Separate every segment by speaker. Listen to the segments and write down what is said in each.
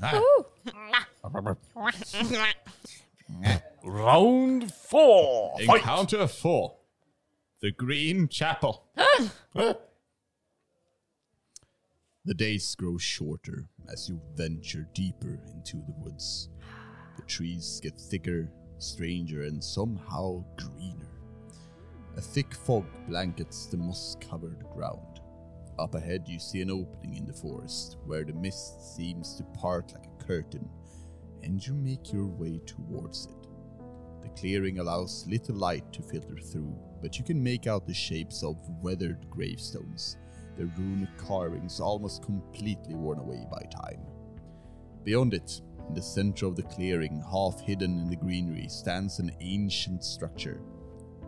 Speaker 1: Round four. Fight.
Speaker 2: Encounter four. The Green Chapel. the days grow shorter as you venture deeper into the woods. The trees get thicker, stranger, and somehow greener. A thick fog blankets the moss covered ground. Up ahead, you see an opening in the forest where the mist seems to part like a curtain, and you make your way towards it. The clearing allows little light to filter through, but you can make out the shapes of weathered gravestones, their runic carvings almost completely worn away by time. Beyond it, in the center of the clearing, half hidden in the greenery, stands an ancient structure.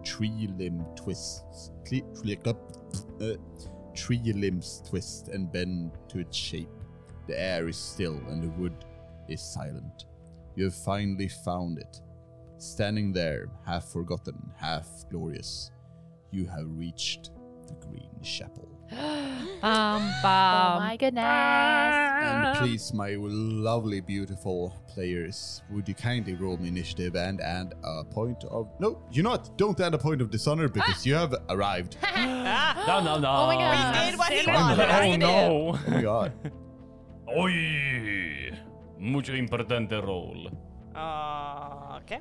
Speaker 2: Tree limb twists, cle- click up, uh, tree limbs twist and bend to its shape. The air is still and the wood is silent. You have finally found it. Standing there, half forgotten, half glorious, you have reached the Green Chapel.
Speaker 3: Bum, bum.
Speaker 4: Oh my
Speaker 3: Ah,
Speaker 4: goodness.
Speaker 5: Ah.
Speaker 2: And please, my lovely, beautiful players, would you kindly roll me initiative and add a point of. No, you know what? Don't add a point of dishonor because you have arrived.
Speaker 1: No, no, no.
Speaker 4: Oh my god.
Speaker 5: We did what he
Speaker 2: Finally.
Speaker 5: wanted. us
Speaker 1: Oh
Speaker 5: to do.
Speaker 1: no.
Speaker 2: Oh my god.
Speaker 1: Oi. Oh, Mucho importante role.
Speaker 5: Uh, okay.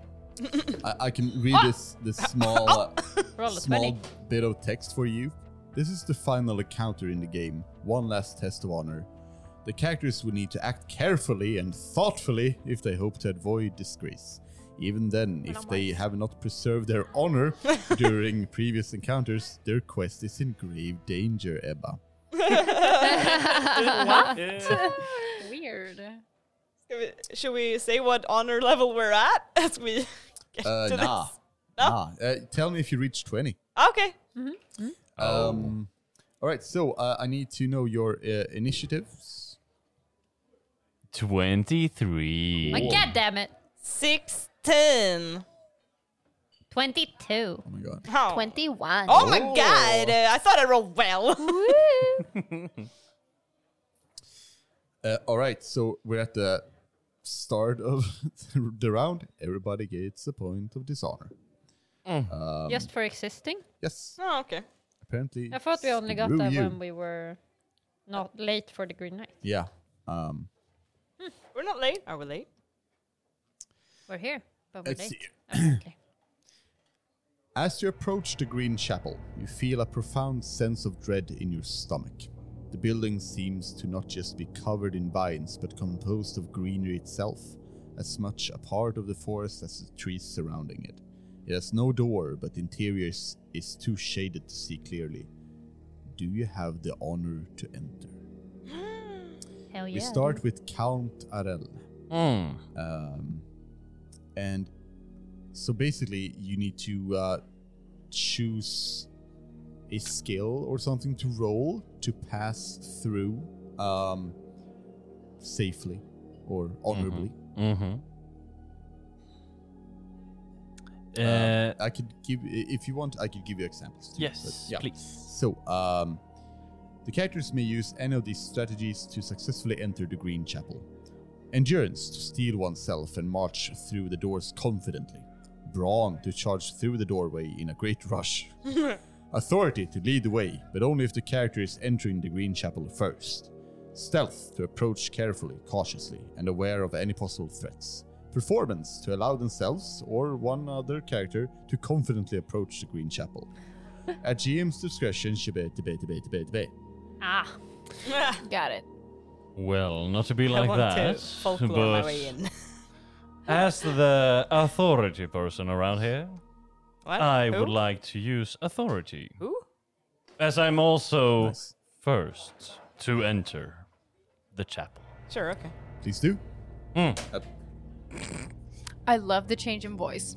Speaker 2: I, I can read this this small uh,
Speaker 4: Ah! Roll a
Speaker 2: small
Speaker 4: 20.
Speaker 2: bit of text for you. This is the final encounter in the game. One last test of honor. The characters will need to act carefully and thoughtfully if they hope to avoid disgrace. Even then, if they have not preserved their honor during previous encounters, their quest is in grave danger, Ebba.
Speaker 1: Eh,
Speaker 4: Weird.
Speaker 5: Should we say what honor level we're at as we get
Speaker 2: Uh,
Speaker 5: to
Speaker 2: nah. Nah. Uh, tell me if you reach 20.
Speaker 5: this? Okay.
Speaker 2: Um, all right, so uh, I need to know your uh, initiatives.
Speaker 1: 23.
Speaker 4: Like, God damn it.
Speaker 5: 16.
Speaker 4: 22.
Speaker 2: Oh my god.
Speaker 5: Oh.
Speaker 4: 21.
Speaker 5: Oh my god. Uh, I thought I rolled well.
Speaker 2: Uh, all right, so we're at the start of the round. Everybody gets a point of dishonor. Oh.
Speaker 3: Just for existing?
Speaker 2: Yes,
Speaker 5: oh, okay.
Speaker 2: apparently.
Speaker 3: I thought we only got
Speaker 2: screw
Speaker 3: that
Speaker 2: you.
Speaker 3: when we were not late for the Green Knight.
Speaker 2: Yeah. Um,
Speaker 5: We're not late. Are we late?
Speaker 3: We're here, but we're
Speaker 2: let's
Speaker 3: late. Oh,
Speaker 2: see.
Speaker 3: Okay.
Speaker 2: As you approach the Green Chapel, you feel a profound sense of dread in your stomach. The building seems to not just be covered in vines, but composed of greenery itself, as much a part of the forest as the trees surrounding it. It has no door, but the interior is- is too shaded to see clearly. Do you have the honor to enter?
Speaker 4: Hell yeah.
Speaker 2: We start with Count Arel.
Speaker 1: Mm.
Speaker 2: Um, and so basically, you need to uh, choose a skill or something to roll to pass through um, safely or honorably.
Speaker 1: Mm-hmm. Uh,
Speaker 2: Uh, I could give, i- if you want, I could give you examples. Too,
Speaker 1: yes, please.
Speaker 2: So, um, the characters may use any of these strategies to successfully enter the Green Chapel. Endurance to steal oneself and march through the doors confidently. Brawn to charge through the doorway in a great rush. Authority to lead the way, but only if the character is entering the Green Chapel first. Stealth to approach carefully, cautiously, and aware of any possible threats. Performance to allow themselves or one other character to confidently approach the Green Chapel. At GM's discretion, debate, debate, debate, debate, debate.
Speaker 4: Ah, got it.
Speaker 1: Well, not to be
Speaker 5: I
Speaker 1: like
Speaker 5: want
Speaker 1: that,
Speaker 5: to folklore my way
Speaker 1: but
Speaker 5: in.
Speaker 1: as the authority person around here,
Speaker 5: What?
Speaker 1: I
Speaker 5: Uh, Who?
Speaker 1: would like to use authority,
Speaker 5: Who?
Speaker 1: as I'm also
Speaker 2: Nice.
Speaker 1: first to enter the chapel.
Speaker 5: Sure, okay.
Speaker 2: Please do.
Speaker 1: Mm.
Speaker 6: I love the change in voice.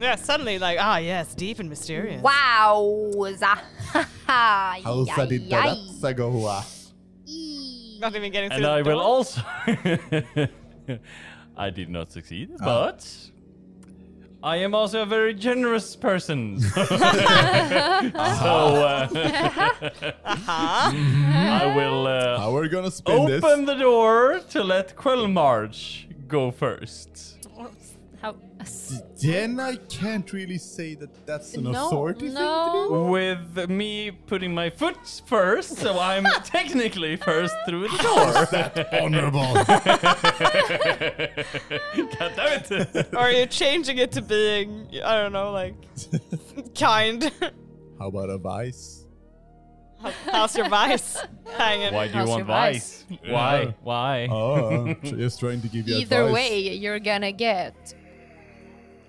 Speaker 5: Yeah, suddenly, like, ah, yes, deep and mysterious.
Speaker 4: Wow. How's
Speaker 2: How's that did that? Sagoa.
Speaker 5: Not even getting through
Speaker 1: And
Speaker 5: the
Speaker 1: I will
Speaker 5: door.
Speaker 2: Ah.
Speaker 1: also. I did not succeed, but I am also a very generous person. so uh, I will uh,
Speaker 2: Uh-huh. How are we gonna spin this?
Speaker 1: open the door to let Quellmarch go first.
Speaker 3: How?
Speaker 2: Then I can't really say that that's an
Speaker 6: No,
Speaker 2: authority
Speaker 3: No.
Speaker 1: With me putting my foot first, so I'm technically first through the
Speaker 2: thing to do. Honorable.
Speaker 1: door. God damn it!
Speaker 5: Or are you changing it to being, I don't know, like kind?
Speaker 2: How about a vice?
Speaker 5: How's your vice hanging?
Speaker 1: Why do you
Speaker 6: How's
Speaker 1: want
Speaker 6: your vice?
Speaker 1: vice?
Speaker 2: Uh-huh.
Speaker 1: Why? Why?
Speaker 2: Oh, I'm tr- just trying to give you
Speaker 6: Either
Speaker 2: advice.
Speaker 6: way, you're gonna get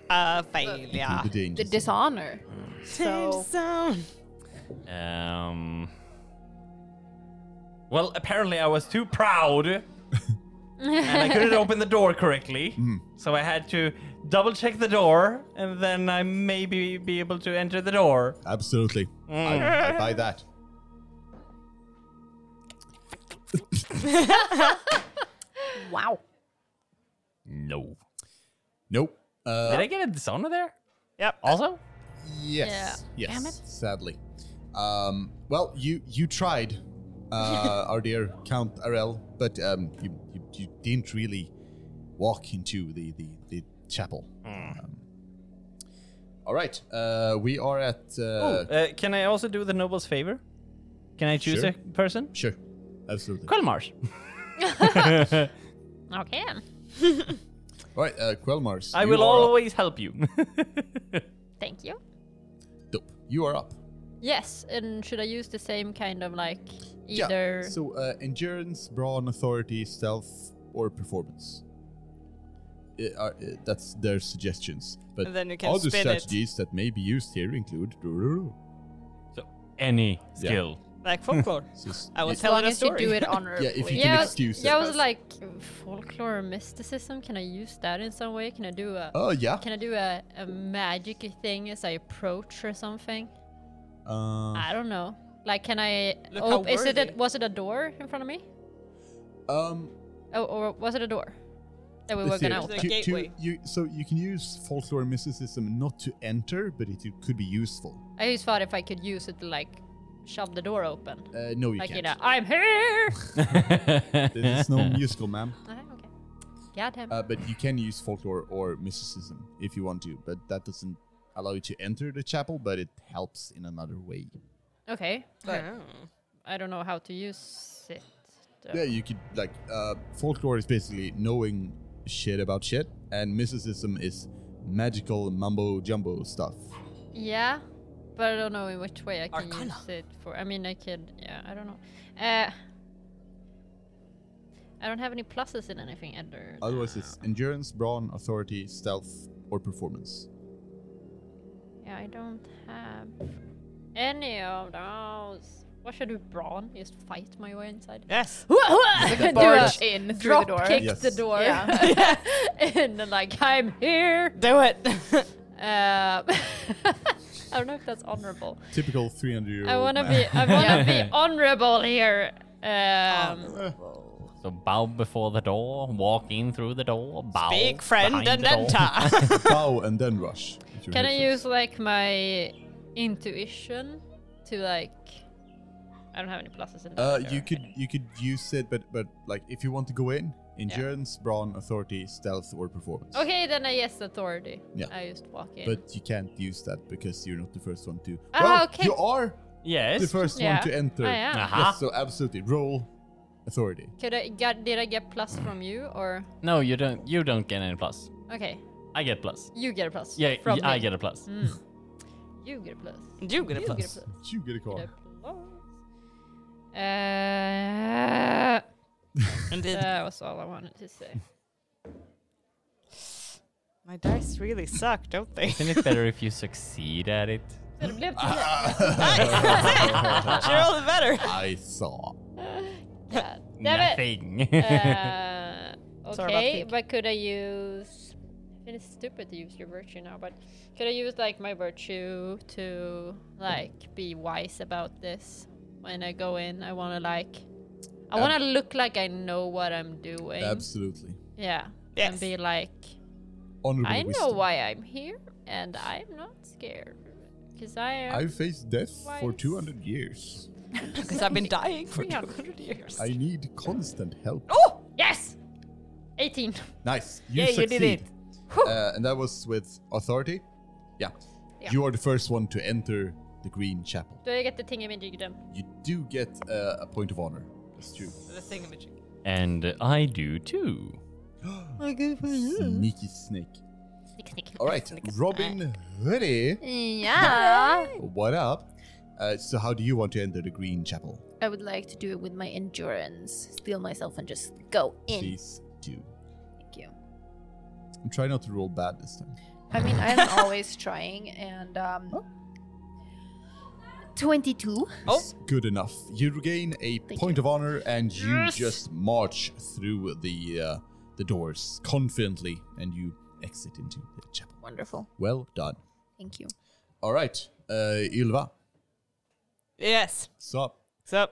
Speaker 5: Uh, failure.
Speaker 2: The
Speaker 6: the
Speaker 2: dangers.
Speaker 6: dishonor.
Speaker 5: So.
Speaker 1: Um. Well, apparently I was too proud, and I couldn't open the door correctly,
Speaker 2: Mm-hmm.
Speaker 1: so I had to double check the door, and then I maybe be able to enter the door.
Speaker 2: Absolutely. I, I buy that.
Speaker 4: Wow.
Speaker 1: No.
Speaker 2: Nope. Uh,
Speaker 1: Did I get a dishonor there?
Speaker 5: Yep.
Speaker 1: Also.
Speaker 2: Yes. Yes. Sadly. Um, well, you you tried, uh, our dear Count Arel, but um, you, you, you didn't really walk into the the, the chapel.
Speaker 1: Hmm.
Speaker 2: Um, all right. Uh, we are at. Uh,
Speaker 1: Uh, can I also do the noble's favor? Can I choose
Speaker 2: Sure.
Speaker 1: a person?
Speaker 2: Sure. Absolutely.
Speaker 1: Kalmars.
Speaker 3: Okay.
Speaker 2: All right. Uh, Quelmars.
Speaker 1: I
Speaker 2: you
Speaker 1: will
Speaker 2: are up.
Speaker 1: always help you.
Speaker 3: Thank you.
Speaker 2: Dope. You are up.
Speaker 3: Yes, and should I use the same kind of like either?
Speaker 2: Yeah. So uh, endurance, brawn, authority, stealth, or performance. Uh, are- uh, that's their suggestions. But
Speaker 5: And then you can
Speaker 2: other
Speaker 5: spin it.
Speaker 2: strategies that may be used here include.
Speaker 1: so any skill.
Speaker 5: Like folklore.
Speaker 2: Just-
Speaker 5: I was
Speaker 6: As long
Speaker 5: telling a
Speaker 6: as you
Speaker 5: story.
Speaker 6: do it honorably.
Speaker 2: yeah, if you
Speaker 3: Yeah,
Speaker 2: can excuse
Speaker 3: yeah, I
Speaker 2: it.
Speaker 3: was like folklore or mysticism. Can I use that in some way? Can I do a
Speaker 2: Oh yeah.
Speaker 3: can I do a, a magic thing as I approach or something?
Speaker 2: Uh,
Speaker 3: I don't know. Like, can I?
Speaker 5: Look how
Speaker 3: Oh, is it? A,
Speaker 5: worthy.
Speaker 3: was it a door in front of me?
Speaker 2: um,
Speaker 3: Oh, or was it a door that we were
Speaker 2: let's see.
Speaker 3: gonna
Speaker 5: It's
Speaker 3: open?
Speaker 5: a
Speaker 2: To- to-
Speaker 5: gateway.
Speaker 2: you- so you can use folklore and mysticism not to enter, but it, could be useful.
Speaker 3: I just thought if I could use it to like shove the door open,
Speaker 2: Uh, no, you
Speaker 3: like you
Speaker 2: can't.
Speaker 3: know, I'm here.
Speaker 2: This is no musical, ma'am.
Speaker 3: okay, okay. Got him.
Speaker 2: Uh, but you can use folklore or mysticism if you want to, but that doesn't allow you to enter the chapel, but it helps in another way.
Speaker 3: okay,
Speaker 5: Oh.
Speaker 3: but I don't know how to use it. though.
Speaker 2: Yeah, you could, like, uh, folklore is basically knowing shit about shit, and mysticism is magical mumbo jumbo stuff.
Speaker 3: Yeah, but I don't know in which way I can
Speaker 5: Arcana.
Speaker 3: use it for. I mean, I could. Yeah, I don't know. Uh, I don't have any pluses in anything either.
Speaker 2: Otherwise, it's endurance, brawn, authority, stealth, or performance.
Speaker 3: Yeah, I don't have any of those. What should I do, Brawn? Just fight my way inside?
Speaker 5: Yes.
Speaker 3: Do a
Speaker 6: Barge in through the
Speaker 3: drop
Speaker 6: door.
Speaker 3: kick
Speaker 2: Yes.
Speaker 3: the door.
Speaker 6: Yeah.
Speaker 3: and then, like, I'm here.
Speaker 5: Do it.
Speaker 3: Um, I don't know if that's honorable.
Speaker 2: Typical 300 year old.
Speaker 3: I wanna be, I wanna be honorable here. Um,
Speaker 1: So bow before the door, walk in through the door, bow.
Speaker 5: Big friend
Speaker 1: behind
Speaker 5: and
Speaker 1: the door.
Speaker 5: enter.
Speaker 2: bow and then rush. if you're
Speaker 3: can I
Speaker 2: here
Speaker 3: use like my intuition to like? I don't have any pluses in. that
Speaker 2: Uh,
Speaker 3: either.
Speaker 2: you could you could use it, but but like if you want to go in, endurance, brawn, authority, stealth, or performance.
Speaker 3: Okay, then I yes authority.
Speaker 2: Yeah.
Speaker 3: I just walk in.
Speaker 2: But you can't use that because you're not the first one to.
Speaker 3: Ah,
Speaker 2: well,
Speaker 3: okay.
Speaker 2: you are
Speaker 1: Yes.
Speaker 2: the first
Speaker 3: Yeah,
Speaker 2: one to enter.
Speaker 3: I am.
Speaker 1: Uh-huh.
Speaker 2: Yes, so absolutely roll authority.
Speaker 3: Could I got did I get plus from you or
Speaker 1: No, you don't. You don't get any plus.
Speaker 3: okay.
Speaker 1: I get plus.
Speaker 3: You get a plus.
Speaker 1: Yeah,
Speaker 3: from
Speaker 1: y- I
Speaker 3: me. Mm.
Speaker 1: get a plus.
Speaker 3: You get a plus.
Speaker 5: you get a
Speaker 3: You
Speaker 5: plus.
Speaker 3: get a plus.
Speaker 2: You get a
Speaker 3: You
Speaker 2: call.
Speaker 3: get a plus. Uh,
Speaker 5: Indeed.
Speaker 3: that was all I wanted to say.
Speaker 5: My dice really suck, don't they?
Speaker 1: Isn't it better if you succeed at it?
Speaker 3: Det blev
Speaker 2: Ah.
Speaker 3: tio.
Speaker 5: You're all the better.
Speaker 2: I saw.
Speaker 3: God damn it.
Speaker 1: Nothing.
Speaker 3: Uh,
Speaker 5: Sorry about
Speaker 3: okay,
Speaker 5: pig.
Speaker 3: but could I use? I think it's stupid to use your virtue now, but could I use like my virtue to like be wise about this when I go in? I want to like, I
Speaker 2: Ab-
Speaker 3: want to look like I know what I'm doing.
Speaker 2: Absolutely.
Speaker 3: yeah,
Speaker 5: Yes.
Speaker 3: and be like,
Speaker 2: Honorable
Speaker 3: I know
Speaker 2: wisdom.
Speaker 3: why I'm here, and I'm not scared. Because I am.
Speaker 2: I've faced death for
Speaker 3: Wise.
Speaker 2: 200 years.
Speaker 5: Because I've been dying for
Speaker 3: 300.
Speaker 5: 200 years.
Speaker 2: I need constant help.
Speaker 5: oh!
Speaker 3: Yes! 18.
Speaker 2: Nice. You
Speaker 6: Yeah, you
Speaker 2: succeed.
Speaker 6: did it.
Speaker 2: Uh, and that was with authority? Yeah.
Speaker 3: Yeah.
Speaker 2: You are the first one to enter the Green Chapel.
Speaker 3: Do I get the thingamajig then?
Speaker 2: You do get uh, a point of honor. That's true.
Speaker 5: The thingamajig.
Speaker 1: And I do too.
Speaker 2: Sneaky snake.
Speaker 3: Snick, snick.
Speaker 2: All right, Robin Hoodie.
Speaker 6: Yeah.
Speaker 2: What up? Uh, so, how do you want to enter the Green Chapel?
Speaker 6: I would like to do it with my endurance. Steal myself and just go in.
Speaker 2: Please do.
Speaker 6: Thank you.
Speaker 2: And try not to roll bad this time.
Speaker 6: I mean, I'm always trying, and um, twenty-two.
Speaker 5: Oh.
Speaker 2: It's good enough. You regain a point of honor, and you just march through the uh, the doors confidently, and you exit into the chapel.
Speaker 6: Wonderful.
Speaker 2: Well done.
Speaker 6: Thank you.
Speaker 2: All right, uh, Ylva,
Speaker 5: Yes.
Speaker 2: stop.
Speaker 5: So,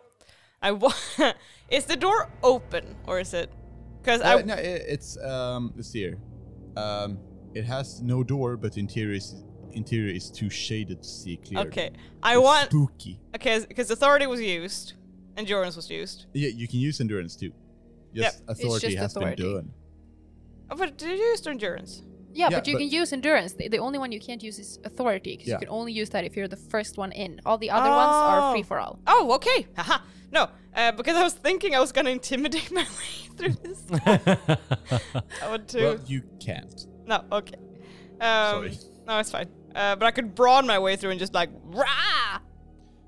Speaker 5: I wa- is the door open or is it? Because
Speaker 2: Uh,
Speaker 5: I
Speaker 2: no, i- it's um, let's see here. Um, it has no door, but interior is interior is too shaded to see clearly.
Speaker 5: okay. I
Speaker 2: It's
Speaker 5: want
Speaker 2: spooky.
Speaker 5: okay because authority was used, endurance was used.
Speaker 2: Yeah, you can use endurance too. Yes, authority
Speaker 6: just
Speaker 2: has
Speaker 6: authority.
Speaker 2: been done.
Speaker 5: Oh, but did you use endurance?
Speaker 6: Yeah,
Speaker 2: Yeah,
Speaker 6: but you
Speaker 2: but-
Speaker 6: can use endurance. The, the only one you can't use is authority, because
Speaker 2: Yeah.
Speaker 6: you can only use that if you're the first one in. All the other ones are
Speaker 5: Oh.
Speaker 6: free for all.
Speaker 5: Oh, okay. Haha. No, uh, because I was thinking I was gonna intimidate my way through this. I want to.
Speaker 2: Well, you can't.
Speaker 5: no. Okay. Um,
Speaker 2: Sorry.
Speaker 5: No, it's fine. Uh, but I could brawn my way through and just like rah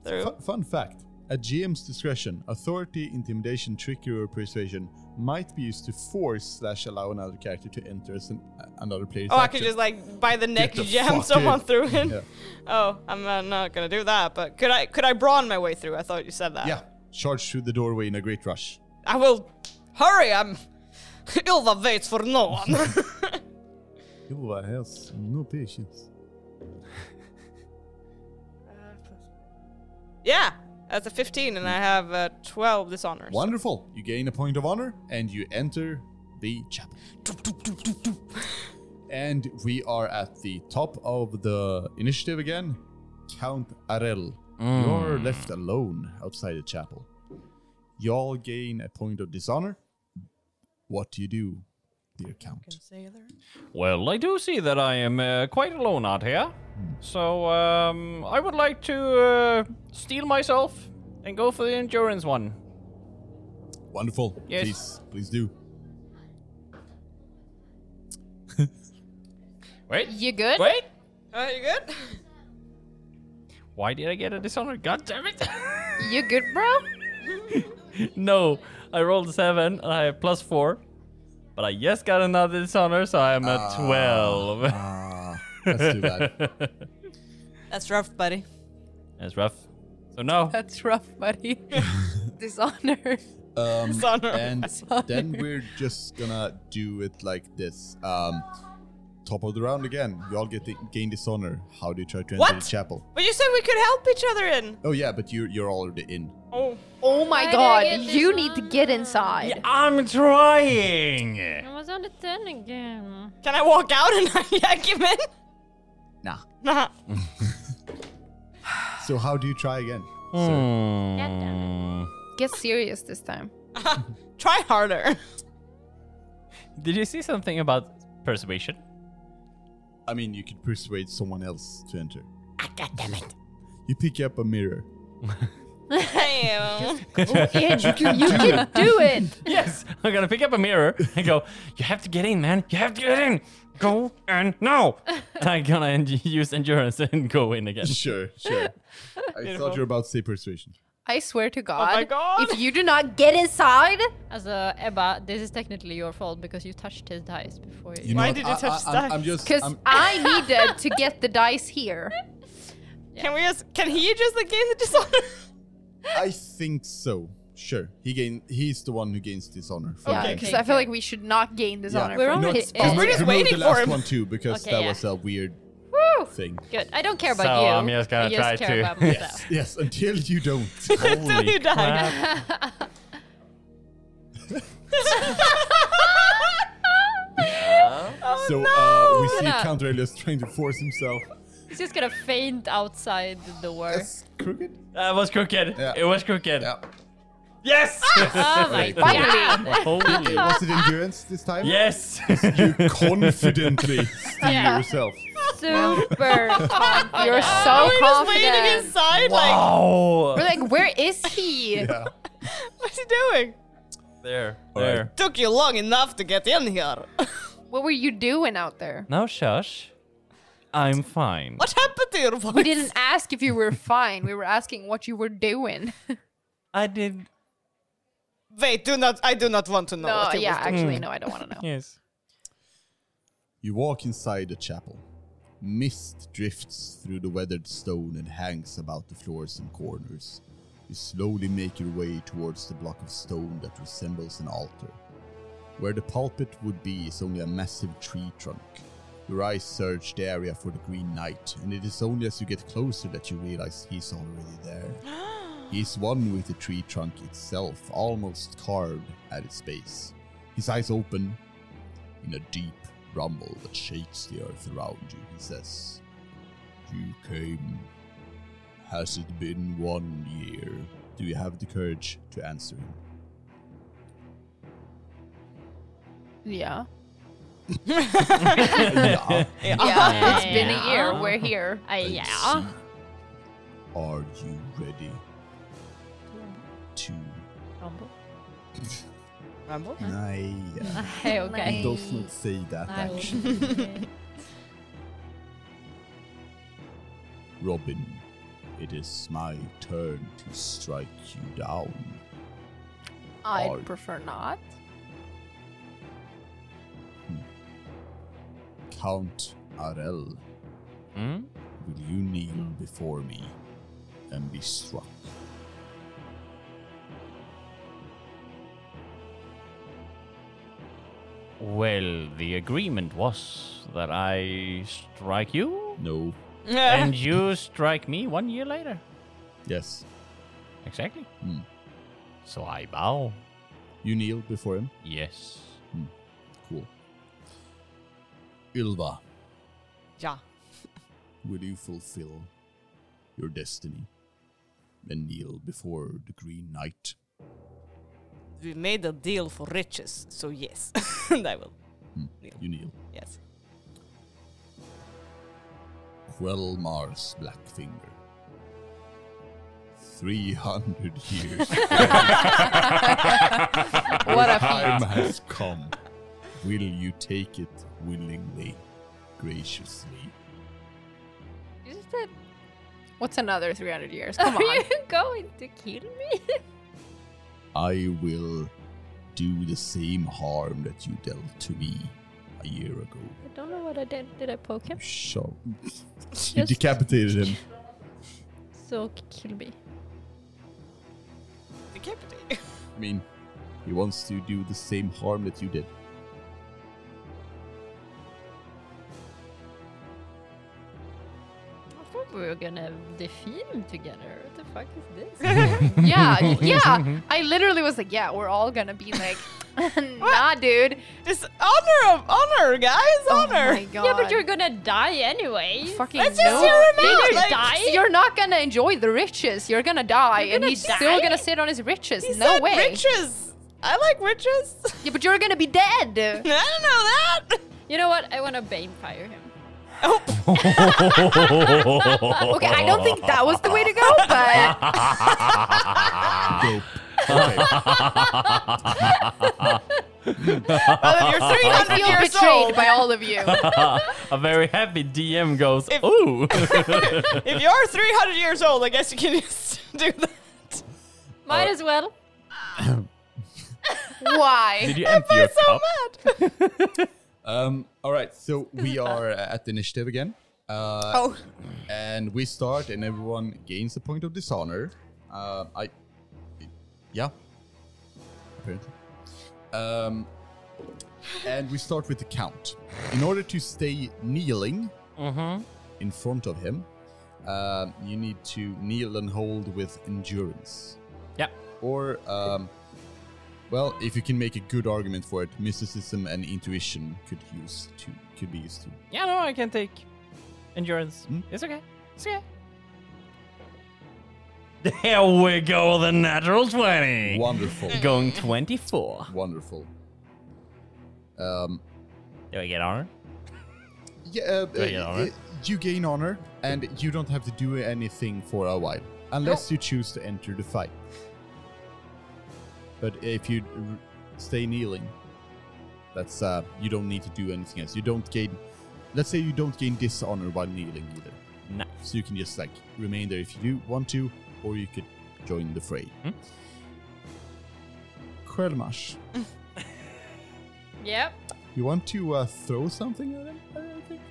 Speaker 5: through.
Speaker 2: Fun, fun fact at GM's discretion, authority, intimidation, trickery, or persuasion might be used to force slash allow another character to enter as an, another player's
Speaker 5: Oh, I
Speaker 2: action.
Speaker 5: could just like by the neck
Speaker 2: the
Speaker 5: jam
Speaker 2: fuck
Speaker 5: someone
Speaker 2: in.
Speaker 5: through it.
Speaker 2: Yeah.
Speaker 5: Oh, I'm uh, not gonna do that. But could I could I brawn my way through? I thought you said that.
Speaker 2: Yeah, charge through the doorway in a great rush.
Speaker 5: I will. Hurry! I'm. Ilva waits for no one.
Speaker 2: Ylva has no patience.
Speaker 5: yeah, that's a 15, and I have uh, 12 dishonors.
Speaker 2: Wonderful. You gain a point of honor and you enter the chapel. and we are at the top of the initiative again. Count Arel, you're left alone outside the chapel. Y'all gain a point of dishonor. What do you do, dear Count?
Speaker 1: Well, I do see that I am uh, quite alone out here. So um, I would like to uh, steal myself and go for the endurance one.
Speaker 2: Wonderful.
Speaker 1: Yes.
Speaker 2: Please, please do.
Speaker 1: Wait,
Speaker 6: You good?
Speaker 1: wait.
Speaker 5: Uh, you good?
Speaker 1: Why did I get a dishonor? God damn it!
Speaker 6: You good, bro?
Speaker 1: no, I rolled seven and I have plus four. But I just got another dishonor, so I'm at 12.
Speaker 2: Ah, that's too bad.
Speaker 5: That's rough, buddy.
Speaker 1: That's rough. So no.
Speaker 6: That's rough, buddy. Dishonor.
Speaker 2: Um,
Speaker 5: Dishonor.
Speaker 2: and then we're just gonna do it like this. Um, top of the round again. You all get the, gain dishonor. How do you try to enter
Speaker 5: What?
Speaker 2: the chapel?
Speaker 5: But you said we could help each other in.
Speaker 2: Oh yeah, but you're you're already in.
Speaker 5: Oh.
Speaker 6: Oh my
Speaker 3: Why did I
Speaker 6: god,
Speaker 3: get
Speaker 6: you
Speaker 3: this
Speaker 6: need to
Speaker 3: one?
Speaker 6: get inside.
Speaker 1: I'm trying.
Speaker 3: I was on the 10 again.
Speaker 5: Can I walk out and not yank him in?
Speaker 2: Nah.
Speaker 5: Nah.
Speaker 2: So how do you try again? Hmm.
Speaker 6: Get serious this time.
Speaker 5: Try harder.
Speaker 1: Did you see something about persuasion?
Speaker 2: I mean, you could persuade someone else to enter. God damn it! You pick up a mirror.
Speaker 5: Damn.
Speaker 6: you can, you can do it.
Speaker 1: Yes. I'm gonna pick up a mirror and go. You have to get in, man. You have to get in. Go and no. And I'm gonna en- use endurance and go in again.
Speaker 2: Sure, sure. I thought you were about to say persuasion.
Speaker 6: I swear to God,
Speaker 5: God.
Speaker 6: if you do not get inside,
Speaker 3: As a Ebba, this is technically your fault because you touched his dice before you.
Speaker 5: Why
Speaker 2: what?
Speaker 5: did you
Speaker 2: I-
Speaker 5: touch
Speaker 2: I, I'm,
Speaker 5: dice?
Speaker 2: I'm just.
Speaker 6: because
Speaker 2: I'm-
Speaker 6: I needed to get the dice here.
Speaker 5: Can we just? Can he just like gain the dishonor?
Speaker 2: I think so. Sure. He gain. He's the one who gains dishonor. for
Speaker 6: Yeah,
Speaker 2: the
Speaker 5: Okay,
Speaker 6: because
Speaker 2: game.
Speaker 6: I feel like we should not gain dishonor.
Speaker 2: We're
Speaker 6: from
Speaker 3: only-
Speaker 6: his
Speaker 3: We're
Speaker 6: end.
Speaker 2: Remove-
Speaker 5: just
Speaker 2: remove
Speaker 5: waiting
Speaker 2: the
Speaker 5: for
Speaker 2: last
Speaker 5: him.
Speaker 2: one too because
Speaker 3: Okay,
Speaker 2: that
Speaker 3: yeah.
Speaker 2: was a weird
Speaker 3: Woo!
Speaker 2: thing.
Speaker 3: Good. I don't care about
Speaker 1: So
Speaker 3: you.
Speaker 1: I'm just gonna
Speaker 3: I
Speaker 1: try
Speaker 3: care
Speaker 1: to-
Speaker 3: about
Speaker 2: Yes,
Speaker 3: myself.
Speaker 2: yes. Until you don't.
Speaker 1: Holy
Speaker 5: you die.
Speaker 1: crap.
Speaker 2: so uh, we see
Speaker 3: gonna-
Speaker 2: Count Aurelius trying to force himself.
Speaker 3: He's just gonna faint outside the door.
Speaker 2: That's crooked.
Speaker 1: That was crooked.
Speaker 2: Yeah.
Speaker 1: It was crooked.
Speaker 2: Yeah.
Speaker 1: Yes!
Speaker 3: Oh my
Speaker 2: Wait, wait.
Speaker 3: god!
Speaker 1: Holy.
Speaker 2: Was it endurance this time?
Speaker 1: yes!
Speaker 2: You confidently steer
Speaker 3: Yeah.
Speaker 2: yourself.
Speaker 3: Super confident.
Speaker 6: You're so
Speaker 5: We're just waiting
Speaker 6: confident.
Speaker 5: inside. Like,
Speaker 6: We're
Speaker 1: oh!
Speaker 6: like, where is he?
Speaker 2: Yeah.
Speaker 5: what's he doing?
Speaker 1: There.
Speaker 2: All right.
Speaker 1: There.
Speaker 5: Took you long enough to get in here.
Speaker 6: What were you doing out there?
Speaker 1: Now shush. I'm fine.
Speaker 5: what happened to your voice?
Speaker 6: We didn't ask if you were fine. We were asking what you were doing.
Speaker 1: I did.
Speaker 5: Wait, do not. I do not want to know.
Speaker 6: No,
Speaker 5: what you
Speaker 6: yeah,
Speaker 5: was doing. Mm.
Speaker 6: actually, no, I don't want to know.
Speaker 1: Yes.
Speaker 2: You walk inside the chapel. Mist drifts through the weathered stone and hangs about the floors and corners. You slowly make your way towards the block of stone that resembles an altar. Where the pulpit would be is only a massive tree trunk. Your eyes search the area for the Green Knight, and it is only as you get closer that you realize he's already there. He's one with the tree trunk itself, almost carved at its base. His eyes open, in a deep rumble that shakes the earth around you, he says, You came. Has it been one year? Do you have the courage to answer him?
Speaker 6: Yeah.
Speaker 2: yeah.
Speaker 6: Yeah. It's been a year.
Speaker 3: Yeah.
Speaker 6: We're here.
Speaker 3: Uh,
Speaker 2: I
Speaker 3: yeah.
Speaker 2: see. Are you ready to.
Speaker 5: Rumble?
Speaker 2: I, uh,
Speaker 3: Hey, okay.
Speaker 2: does not say that
Speaker 3: I will-
Speaker 2: actually. Robin, it is my turn to strike you down.
Speaker 6: I'd
Speaker 2: Or-
Speaker 6: prefer not.
Speaker 2: Count Arel.
Speaker 1: Hmm?
Speaker 2: Will you kneel before me and be struck?
Speaker 1: Well, the agreement was that I strike you,
Speaker 2: No.
Speaker 1: and you strike me one year later.
Speaker 2: Yes.
Speaker 1: Exactly.
Speaker 2: Hmm.
Speaker 1: So I bow.
Speaker 2: You kneel before him?
Speaker 1: Yes.
Speaker 2: Cool. Ylva,
Speaker 5: yeah.
Speaker 2: will you fulfill your destiny and kneel before the Green Knight?
Speaker 5: We made a deal for riches, so yes, and I will.
Speaker 2: You kneel.
Speaker 5: Yes.
Speaker 2: Quelmar's Blackfinger. 300 years
Speaker 6: What a
Speaker 2: time
Speaker 6: feat.
Speaker 2: has come. Will you take it willingly, graciously?
Speaker 3: You said,
Speaker 6: What's another 300 years? Come
Speaker 3: Are you
Speaker 6: on.
Speaker 3: going to kill me?
Speaker 2: I will do the same harm that you dealt to me a year ago.
Speaker 3: I don't know what I did. Did I poke him?
Speaker 2: So you decapitated him.
Speaker 3: So kill me.
Speaker 5: Decapitate.
Speaker 2: I mean, he wants to do the same harm that you did.
Speaker 3: I thought we were gonna defeat him together. What the fuck is this?
Speaker 6: yeah,
Speaker 5: Mm-hmm.
Speaker 6: yeah. I literally was like, yeah, we're all gonna be like, nah, dude.
Speaker 5: Just honor of honor, guys, honor.
Speaker 6: Oh my god.
Speaker 3: yeah, but you're gonna die anyway.
Speaker 6: fucking
Speaker 5: Let's
Speaker 6: no.
Speaker 5: just hear him out.
Speaker 3: You're
Speaker 5: Like,
Speaker 3: die.
Speaker 6: You're not gonna enjoy the riches. You're gonna die,
Speaker 3: You're
Speaker 6: and
Speaker 3: gonna
Speaker 6: he's still
Speaker 3: die?
Speaker 6: gonna sit on his riches.
Speaker 5: he
Speaker 6: no
Speaker 5: said
Speaker 6: way.
Speaker 5: riches. I like riches.
Speaker 6: Yeah, but you're gonna be dead.
Speaker 5: I don't know that.
Speaker 3: You know what? I wanna banefire him.
Speaker 5: Oh,
Speaker 6: okay, I don't think that was the way to go, but
Speaker 2: Dope. Okay.
Speaker 5: well, if you're
Speaker 6: I
Speaker 5: 300
Speaker 6: feel
Speaker 5: years
Speaker 6: betrayed
Speaker 5: old,
Speaker 6: by all of you.
Speaker 1: a very happy DM goes,
Speaker 5: If-
Speaker 1: ooh.
Speaker 5: if you're 300 years old, I guess you can just do that.
Speaker 3: Might as well.
Speaker 6: Why?
Speaker 1: Did you empty your cup?
Speaker 2: Um, all right, so we are at the initiative again. Uh,
Speaker 5: Oh.
Speaker 2: And we start, and everyone gains a point of dishonor. Uh, I. Yeah. Apparently. Um, and we start with the count. In order to stay kneeling Mm-hmm. in front of him, um, you need to kneel and hold with endurance.
Speaker 1: Yeah.
Speaker 2: Or um, Well, if you can make a good argument for it, mysticism and intuition could use to could be used too.
Speaker 1: Yeah, no, I can take endurance. It's okay. It's okay. There we go, the natural 20.
Speaker 2: Wonderful,
Speaker 1: Going 24.
Speaker 2: wonderful. Um,
Speaker 1: Do I get honor?
Speaker 2: yeah, uh, uh,
Speaker 1: you all right?
Speaker 2: uh, you gain honor, and you don't have to do anything for a while, unless you choose to enter the fight. But if you r- stay kneeling, that's uh, you don't need to do anything else. You don't gain. Let's say you don't gain dishonor while kneeling either.
Speaker 1: Nice.
Speaker 2: So you can just like remain there if you do want to, or you could join the fray.
Speaker 1: Hmm?
Speaker 2: Krelmash,
Speaker 3: Yep.
Speaker 2: you want to uh, throw something at him? I don't think.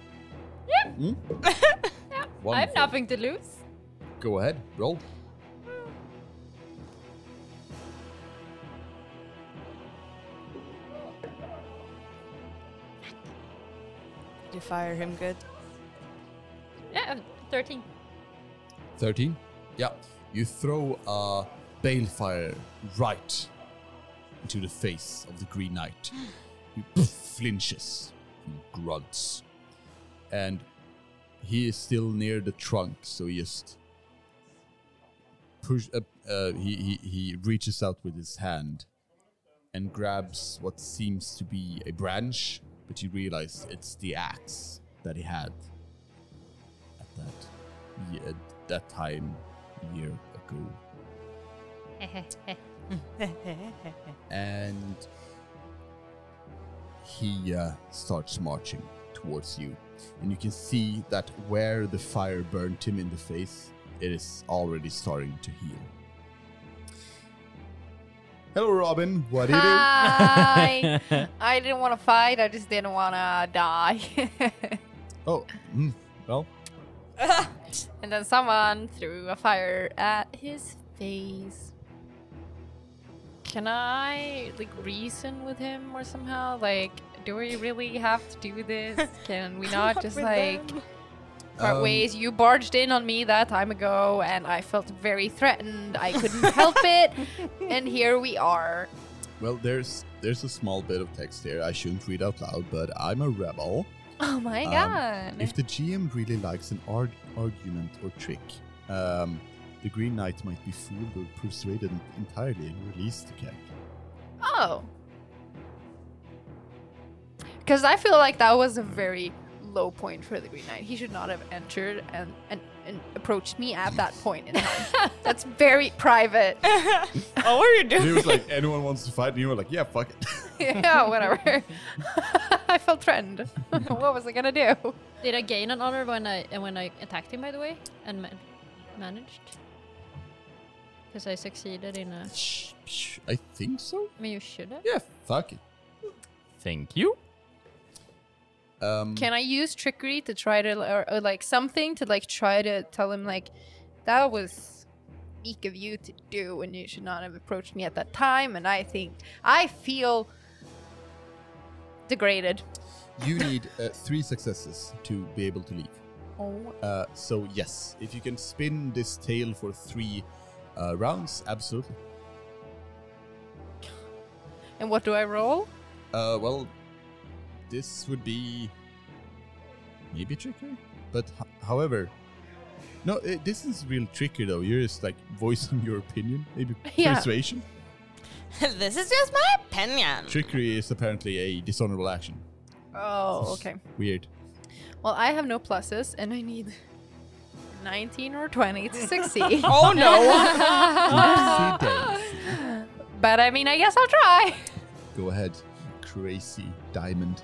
Speaker 2: Hmm?
Speaker 3: I have
Speaker 2: Wonderful.
Speaker 3: nothing to lose.
Speaker 2: Go ahead, roll.
Speaker 5: You fire him good.
Speaker 3: Yeah, uh, 13.
Speaker 2: 13. Yeah. You throw a balefire right into the face of the Green Knight. he flinches and grunts. And he is still near the trunk, so he just push. Uh, uh, he, he, he reaches out with his hand and grabs what seems to be a branch, but you realize it's the axe that he had at that yeah, that time year ago. and he uh, starts marching towards you, and you can see that where the fire burnt him in the face, it is already starting to heal. Hello, Robin. What do you do?
Speaker 6: Hi. I didn't want to fight. I just didn't want to die.
Speaker 2: Oh, mm, well,
Speaker 6: and then someone threw a fire at his face. Can I like reason with him or somehow? Like, do we really have to do this? Can we not just
Speaker 5: With
Speaker 6: like
Speaker 5: them.
Speaker 6: part
Speaker 2: Um,
Speaker 6: ways? You barged in on me that time ago, and I felt very threatened. I couldn't help it, and here we are.
Speaker 2: well, there's there's a small bit of text here I shouldn't read out loud, but I'm a rebel.
Speaker 6: Oh my
Speaker 2: Um,
Speaker 6: god!
Speaker 2: If the GM really likes an arg- argument or trick, um, the Green Knight might be fooled or persuaded entirely and release the cat.
Speaker 6: Oh. Because I feel like that was a very low point for the Green Knight. He should not have entered and, and, and approached me at that point in time. That's very private.
Speaker 5: Oh, what are you
Speaker 2: And he
Speaker 5: doing?
Speaker 2: was like, anyone wants to fight? And you were like, yeah, fuck it.
Speaker 6: yeah, whatever. I felt threatened. what was I going to do?
Speaker 3: Did I gain an honor when I and when I attacked him, by the way, and man- managed? Because I succeeded in a.
Speaker 2: Shh, shh, I think so.
Speaker 3: I mean, you should have.
Speaker 2: Yeah, fuck it.
Speaker 1: Thank you.
Speaker 2: Um,
Speaker 6: Can I use trickery to try to, or, or like something to like try to tell him, like, that was meek of you to do and you should not have approached me at that time? And I think, I feel degraded.
Speaker 2: you need uh, three successes to be able to leave.
Speaker 6: Oh,
Speaker 2: Uh, so yes, if you can spin this tail for three uh, rounds, absolutely.
Speaker 6: and what do I roll?
Speaker 2: Uh, well, this would be maybe tricky, but h- however, no, uh this is real tricky though. You're just like voicing your opinion, maybe
Speaker 6: Yeah.
Speaker 2: persuasion.
Speaker 5: this is just my opinion.
Speaker 2: Trickery is apparently a dishonorable action.
Speaker 6: Oh, okay.
Speaker 2: Weird.
Speaker 6: Well, I have no pluses, and I need 19 or 20 to succeed.
Speaker 5: Oh no!
Speaker 2: Oopsie daisy.
Speaker 6: but I mean, I guess I'll try.
Speaker 2: Go ahead, crazy diamond.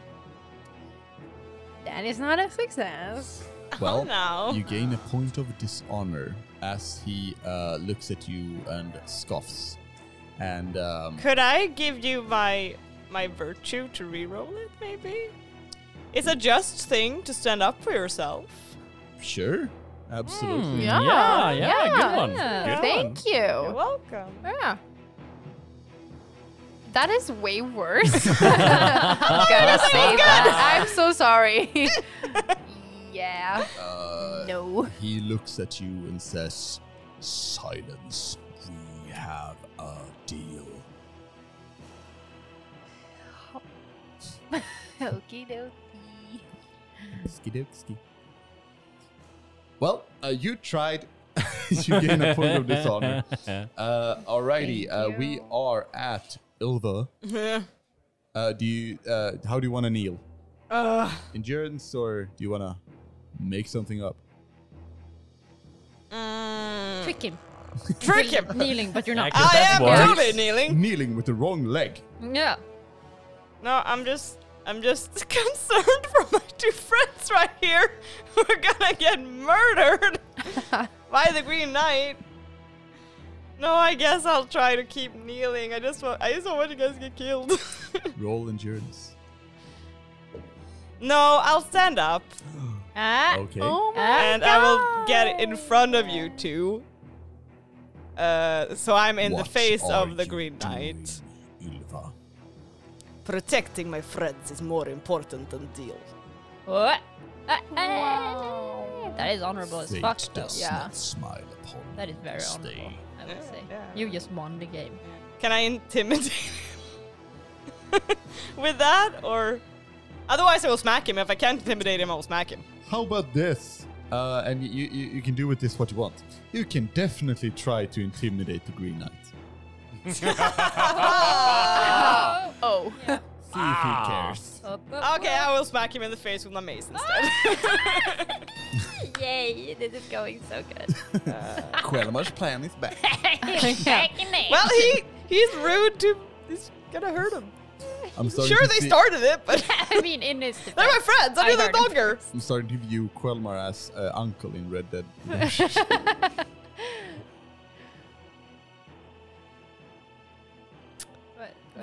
Speaker 6: That is not a success.
Speaker 2: Well,
Speaker 5: no.
Speaker 2: you gain a point of dishonor as he uh, looks at you and scoffs. And um,
Speaker 5: Could I give you my my virtue to reroll it? Maybe. It's a just thing to stand up for yourself.
Speaker 2: sure, absolutely.
Speaker 6: Yeah,
Speaker 1: yeah,
Speaker 6: yeah.
Speaker 1: good one.
Speaker 3: Yeah.
Speaker 1: Good one.
Speaker 6: Thank
Speaker 5: You're
Speaker 6: you.
Speaker 5: welcome.
Speaker 6: Yeah. That is way worse. I'm gonna say that. I'm so sorry. yeah.
Speaker 2: Uh,
Speaker 6: No.
Speaker 2: He looks at you and says, Silence. We have a deal.
Speaker 6: Okie dokie.
Speaker 2: Skidooksky. Well, uh, you tried. you gain a point of dishonor. Uh, alrighty, uh, we are at Ilva. Uh, do you? Uh, how do you want to kneel?
Speaker 5: uh,
Speaker 2: Endurance, or do you want to make something up?
Speaker 5: mm,
Speaker 3: Trick him.
Speaker 5: trick him.
Speaker 3: Kneeling, but you're not.
Speaker 1: Because
Speaker 5: I
Speaker 1: that
Speaker 5: am
Speaker 1: works.
Speaker 5: totally kneeling.
Speaker 2: Kneeling with the wrong leg.
Speaker 6: Yeah.
Speaker 5: No, I'm just I'm just concerned for my two friends right here who are gonna get murdered by the Green Knight. No, I guess I'll try to keep kneeling. I just want I just don't want you guys to get killed.
Speaker 2: Roll endurance.
Speaker 5: no, I'll stand up
Speaker 3: Ah.
Speaker 2: Okay.
Speaker 6: Oh my
Speaker 5: and I will get in front of you two. Uh, so I'm in
Speaker 2: What
Speaker 5: the face
Speaker 2: are
Speaker 5: of the
Speaker 2: you
Speaker 5: Green Knight.
Speaker 2: doing, Ilva?
Speaker 5: Protecting my friends is more important than deal.
Speaker 3: What? Ah, ah. That is honorable as
Speaker 2: Fate
Speaker 3: fuck, though.
Speaker 2: does
Speaker 6: yeah.
Speaker 2: not smile upon
Speaker 3: That is very honorable,
Speaker 2: Stay.
Speaker 3: I would say.
Speaker 5: yeah.
Speaker 3: You just won the game.
Speaker 5: Can I intimidate him with that, or otherwise I will smack him. If I can't intimidate him, I will smack him.
Speaker 2: How about this? Uh, and you, you, you can do with this what you want. You can definitely try to intimidate the Green Knight.
Speaker 6: Oh.
Speaker 2: See if he cares.
Speaker 3: Oh,
Speaker 5: Okay, uh- I will smack him in the face with my mace instead.
Speaker 6: Yay, this is going so good.
Speaker 2: Quelmer's plan is bad.
Speaker 5: well, he he's rude to. He's gonna hurt him.
Speaker 2: I'm starting
Speaker 5: Sure,
Speaker 2: to
Speaker 5: they
Speaker 2: see-
Speaker 5: started it, but
Speaker 6: I mean, in his
Speaker 5: they're my friends. I
Speaker 6: I
Speaker 5: knew them
Speaker 6: heard him
Speaker 5: longer.
Speaker 2: I'm starting to view Quelmer as uh, uncle in Red Dead.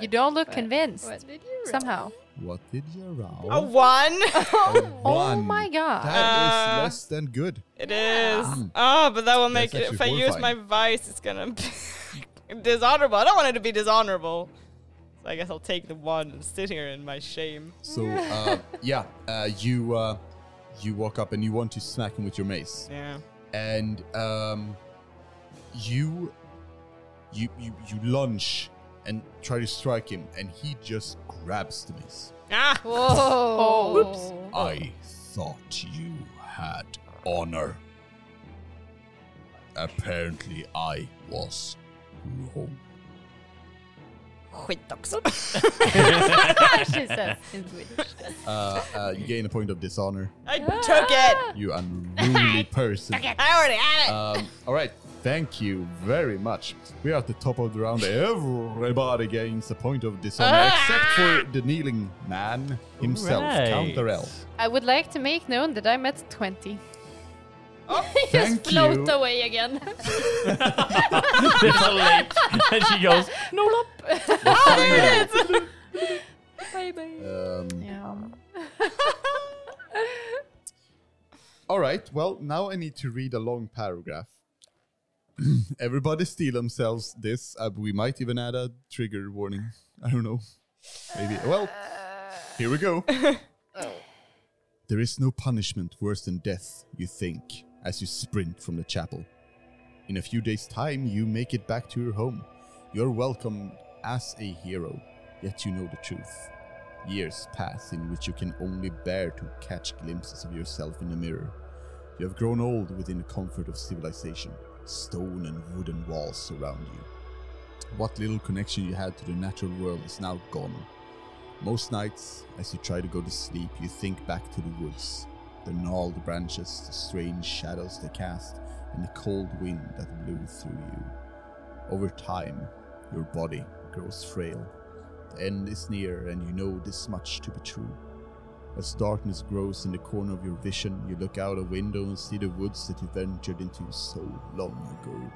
Speaker 6: You don't look convinced.
Speaker 3: did you
Speaker 6: Somehow.
Speaker 2: what did you roll?
Speaker 5: A one.
Speaker 2: A
Speaker 6: Oh
Speaker 2: one.
Speaker 6: my god.
Speaker 2: That is
Speaker 5: Uh,
Speaker 2: less than good.
Speaker 5: It is. Oh, but that will make it.
Speaker 2: actually
Speaker 5: If I use my
Speaker 2: horrifying.
Speaker 5: vice, it's gonna be dishonorable. I don't want it to be dishonorable. So I guess I'll take the one and sit here in my shame.
Speaker 2: So uh, yeah, uh, you uh, you walk up and you want to smack him with your mace.
Speaker 5: Yeah.
Speaker 2: and um, you, you you you lunge and try to strike him, and he just grabs the mace.
Speaker 5: Ah.
Speaker 6: Whoa. Oh.
Speaker 2: I thought you had honor. Apparently, I was wrong.
Speaker 6: she says in Swedish.
Speaker 2: Uh, uh, you gain a point of dishonor.
Speaker 5: I took it.
Speaker 2: You unruly person.
Speaker 5: I already had it.
Speaker 2: Um, all right. Thank you very much. We are at the top of the round. Everybody gains a point of dishonor, except for the kneeling man himself,
Speaker 1: Right.
Speaker 2: Count Darrell.
Speaker 6: I would like to make known that I'm at 20.
Speaker 2: Thank
Speaker 3: Float
Speaker 2: you.
Speaker 3: away again.
Speaker 1: There's a lake. And she goes,
Speaker 6: No, no.
Speaker 2: Um,
Speaker 6: Yeah.
Speaker 2: all right. Well, now I need to read a long paragraph. Everybody steal themselves this. Uh, we might even add a trigger warning. I don't know. Maybe. Well, here we go. There is no punishment worse than death, you think, as you sprint from the chapel. In a few days' time, you make it back to your home. You're welcomed as a hero, yet you know the truth. Years pass in which you can only bear to catch glimpses of yourself in the mirror. You have grown old within the comfort of civilization. Stone and wooden walls surround you. What little connection you had to the natural world is now gone. Most nights, as you try to go to sleep, you think back to the woods, the gnarled branches, the strange shadows they cast, and the cold wind that blew through you. Over time, your body grows frail. The end is near, and you know this much to be true. As darkness grows in the corner of your vision, you look out a window and see the woods that you ventured into so long ago.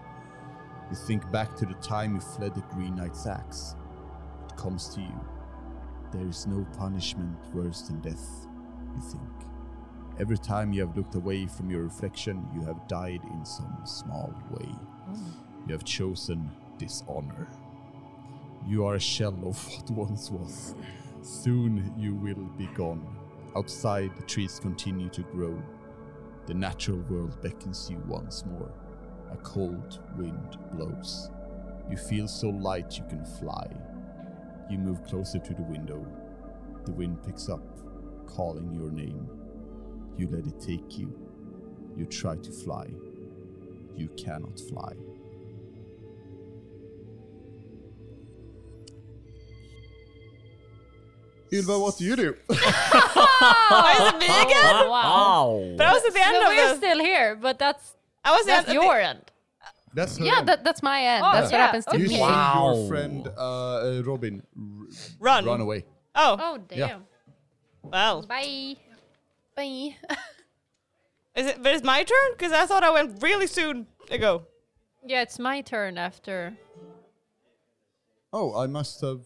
Speaker 2: You think back to the time you fled the Green Knight's axe. It comes to you. There is no punishment worse than death, you think. Every time you have looked away from your reflection, you have died in some small way. You have chosen dishonor. You are a shell of what once was. Soon you will be gone. Outside, the trees continue to grow. The natural world beckons you once more. A cold wind blows. You feel so light you can fly. You move closer to the window. The wind picks up, calling your name. You let it take you. You try to fly. You cannot fly. Ylva, what do you do?
Speaker 5: Why is it me again?
Speaker 3: Oh, wow.
Speaker 5: But I was at the end
Speaker 3: So we're
Speaker 5: of this.
Speaker 3: still here, but that's
Speaker 5: I was at
Speaker 3: that's
Speaker 5: the-
Speaker 3: your end.
Speaker 2: That's her
Speaker 6: Yeah,
Speaker 2: end.
Speaker 6: that, that's my end.
Speaker 3: Oh,
Speaker 6: that's
Speaker 3: yeah.
Speaker 6: what happens to
Speaker 2: You
Speaker 6: me.
Speaker 2: see
Speaker 1: Wow.
Speaker 2: your friend uh, uh, Robin r-
Speaker 5: run.
Speaker 2: run away.
Speaker 5: Oh,
Speaker 3: Oh damn.
Speaker 2: Yeah.
Speaker 5: well.
Speaker 3: Bye.
Speaker 6: Bye.
Speaker 5: Is it? But it's my turn because I thought I went really soon ago.
Speaker 3: Yeah, it's my turn after.
Speaker 2: Oh, I must have.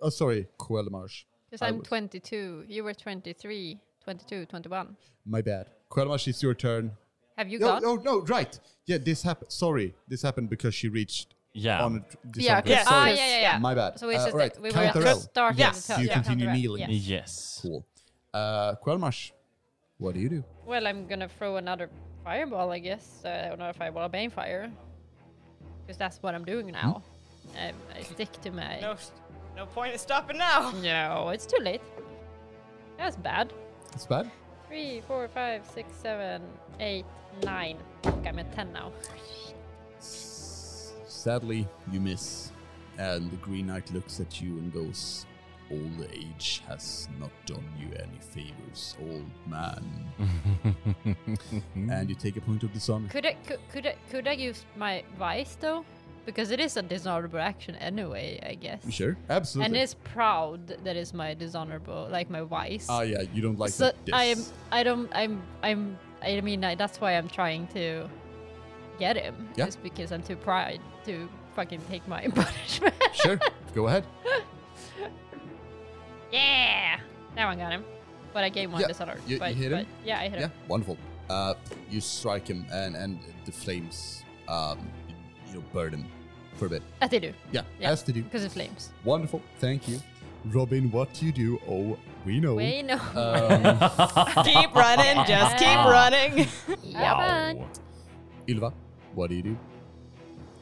Speaker 2: Oh, sorry, Quelmarsh.
Speaker 3: Because
Speaker 2: I
Speaker 3: I'm
Speaker 2: was-
Speaker 3: 22. You were 23, 22, 21.
Speaker 2: My bad. Quelmarsh, it's your turn.
Speaker 3: Have you
Speaker 2: No,
Speaker 3: gone?
Speaker 2: oh, no, right. Yeah, this happened. Sorry, this happened because she reached
Speaker 1: Yeah.
Speaker 2: on. A tr-
Speaker 6: Yeah,
Speaker 2: December.
Speaker 6: because
Speaker 5: Yes.
Speaker 3: Ah,
Speaker 2: Sorry.
Speaker 3: yeah, yeah, yeah.
Speaker 2: My bad.
Speaker 3: So we
Speaker 2: Uh,
Speaker 3: just
Speaker 2: right,
Speaker 3: we were at
Speaker 2: counter
Speaker 3: the
Speaker 2: L.
Speaker 3: start of
Speaker 5: Yes,
Speaker 3: the
Speaker 2: you continue
Speaker 3: counter L,
Speaker 2: kneeling.
Speaker 3: yes.
Speaker 1: Yes.
Speaker 2: Cool. Uh, Quelmarsh, what do you do?
Speaker 3: Well, I'm gonna throw another fireball, I guess. Uh, I don't know if I want a bane fire, because that's what I'm doing now.
Speaker 2: Hmm.
Speaker 3: I, I stick to my.
Speaker 5: No, no point in stopping now.
Speaker 3: No, it's too late. That's bad.
Speaker 2: It's bad.
Speaker 3: Three, four, five, six, seven, eight, nine. Fuck, I'm at ten now.
Speaker 2: Sadly, you miss, and the Green Knight looks at you and goes, Old age has not done you any favors, old man. and you take a point of dishonor.
Speaker 3: Could I could, could I could I use my vice though? Because it is a dishonorable action anyway, I guess.
Speaker 2: Sure, absolutely.
Speaker 3: And it's proud that is my dishonorable, like my vice.
Speaker 2: Ah, yeah, you don't like
Speaker 3: so
Speaker 2: that.
Speaker 3: I'm
Speaker 2: diss.
Speaker 3: I don't I'm I'm I mean I, that's why I'm trying to get him.
Speaker 2: Yeah.
Speaker 3: Just because I'm too proud to fucking take my punishment.
Speaker 2: Sure, go ahead.
Speaker 3: yeah. That one got him. But I gave one
Speaker 2: Yeah,
Speaker 3: dishonor.
Speaker 2: you- you
Speaker 3: but,
Speaker 2: hit him?
Speaker 3: but- yeah, I hit
Speaker 2: Yeah,
Speaker 3: him.
Speaker 2: wonderful. Uh, you strike him, and, and the flames, um, you know, burn him for a bit.
Speaker 3: As they do.
Speaker 2: Yeah,
Speaker 3: Yeah.
Speaker 2: as they do.
Speaker 3: Because of flames.
Speaker 2: Wonderful, thank you. Robin, what do you do? Oh, we know.
Speaker 3: We know.
Speaker 2: Um,
Speaker 5: keep running. Just keep running.
Speaker 1: Wow.
Speaker 2: Ylva, what do you do?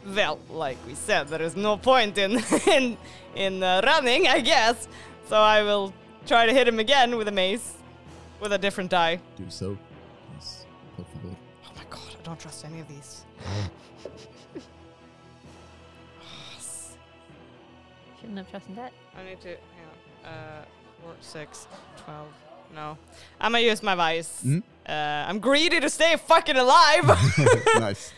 Speaker 5: Well, like we said, there is no point in in in uh, running, I guess. So I will try to hit him again with a mace, with a different die.
Speaker 2: Do so. Yes, por favor.
Speaker 5: Oh my god, I don't trust any of these.
Speaker 3: Shouldn't have trusted that.
Speaker 5: I need to. Hang on. Uh, four, six, twelve. No, I'm gonna use my vice.
Speaker 2: Hmm?
Speaker 5: Uh, I'm greedy to stay fucking alive.
Speaker 2: nice.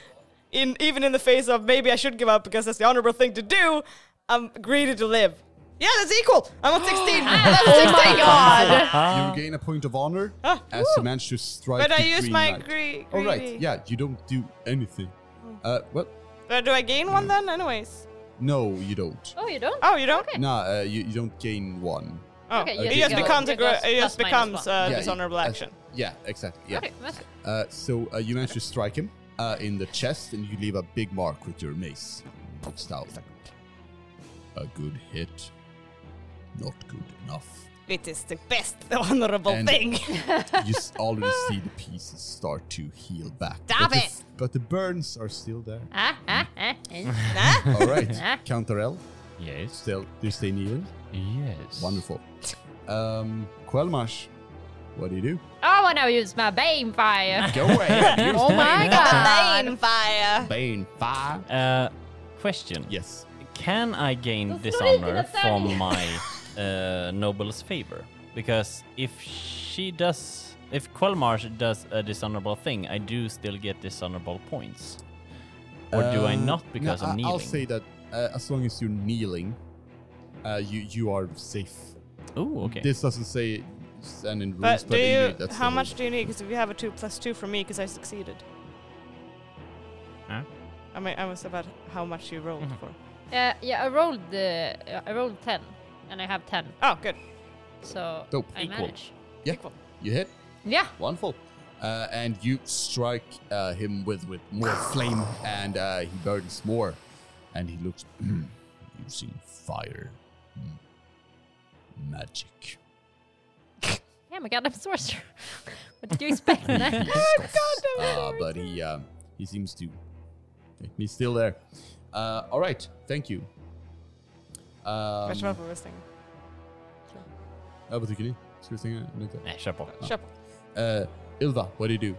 Speaker 5: in even in the face of maybe I should give up because that's the honorable thing to do. I'm greedy to live. Yeah, that's equal. I'm on 16.
Speaker 3: Ah,
Speaker 5: That's
Speaker 6: Oh my god.
Speaker 2: you gain a point of honor as you manage to strike.
Speaker 5: Ah. But I
Speaker 2: the
Speaker 5: use
Speaker 2: green
Speaker 5: my
Speaker 2: knight.
Speaker 5: gre- greedy.
Speaker 2: All right. Yeah, you don't do anything.
Speaker 5: Hmm.
Speaker 2: Uh, well,
Speaker 5: But do I gain one then, anyways?
Speaker 2: no, you don't.
Speaker 3: Oh you don't?
Speaker 5: Oh, you don't.
Speaker 2: Nah, uh, you, you don't gain one.
Speaker 5: Oh,
Speaker 3: Okay,
Speaker 5: it
Speaker 2: yes,
Speaker 5: just
Speaker 2: you go.
Speaker 5: becomes a
Speaker 3: It
Speaker 5: gr-
Speaker 3: goes
Speaker 5: it just
Speaker 3: plus minus
Speaker 5: becomes
Speaker 3: one.
Speaker 5: a
Speaker 2: yeah,
Speaker 5: dishonorable
Speaker 2: uh,
Speaker 5: action.
Speaker 2: Yeah, exactly. Yeah.
Speaker 3: Okay, that's-
Speaker 2: Uh, so uh, you manage to strike him uh, in the chest, and you leave a big mark with your mace. It's out. A good hit. Not good enough.
Speaker 5: It is the best honorable
Speaker 2: And-
Speaker 5: thing.
Speaker 2: you s- already see the pieces start to heal back.
Speaker 5: Stop
Speaker 2: but the
Speaker 5: it!
Speaker 2: f- but the burns are still there.
Speaker 3: Ah, ah, ah, ah.
Speaker 2: All right, counter L.
Speaker 1: Yes.
Speaker 2: Still, do you stay kneeling?
Speaker 1: Yes.
Speaker 2: Wonderful. Um, Quelmash, what do you do?
Speaker 3: Oh, I want to use my Bane Fire.
Speaker 2: Go away.
Speaker 6: Oh my god.
Speaker 5: fire.
Speaker 2: Bane fire.
Speaker 1: Uh, question.
Speaker 2: Yes.
Speaker 1: Can I gain
Speaker 3: Don't
Speaker 1: dishonor
Speaker 3: strike it, Natalia.
Speaker 1: from my uh, noble's favor? Because if she does, if Quelmarsh does a dishonorable thing, I do still get dishonorable points. Or do I
Speaker 2: Um,
Speaker 1: not because
Speaker 2: no,
Speaker 1: I'm
Speaker 2: I-
Speaker 1: kneeling?
Speaker 2: I'll say that uh, as long as you're kneeling, uh, you you are safe.
Speaker 1: Ooh, okay.
Speaker 2: This doesn't say stand in rules,
Speaker 5: But
Speaker 2: but,
Speaker 5: do
Speaker 2: in
Speaker 5: you?
Speaker 2: it, that's the
Speaker 5: How
Speaker 2: whole-
Speaker 5: much do you need? Because if you have a two plus two from me, because I succeeded.
Speaker 1: Huh?
Speaker 5: I mean, I was about how much you
Speaker 2: Mm-hmm.
Speaker 5: rolled for.
Speaker 3: Uh, yeah, I rolled the I rolled ten, and I have ten,
Speaker 5: Oh, good.
Speaker 3: so
Speaker 2: Dope.
Speaker 3: I
Speaker 2: Equal.
Speaker 3: manage.
Speaker 2: Yeah,
Speaker 5: Equal.
Speaker 2: you hit.
Speaker 3: Yeah,
Speaker 2: Wonderful. Uh, and you strike uh, him with, with more flame, and uh, he burns more. And he looks. "Mm, You've seen fire. Mm. Magic.
Speaker 3: yeah, I'm a goddamn sorcerer. what did you expect? man?
Speaker 2: Uh, but he um, he seems to. Okay, He's still there. Uh, all right. Thank you. Um,
Speaker 5: That's what we were saying.
Speaker 7: Ja, vad tycker ni? Ska vi stänga Anita?
Speaker 1: Nej, kör på.
Speaker 2: uh,
Speaker 5: Kör på.
Speaker 7: Eh, Ilva, what do you do?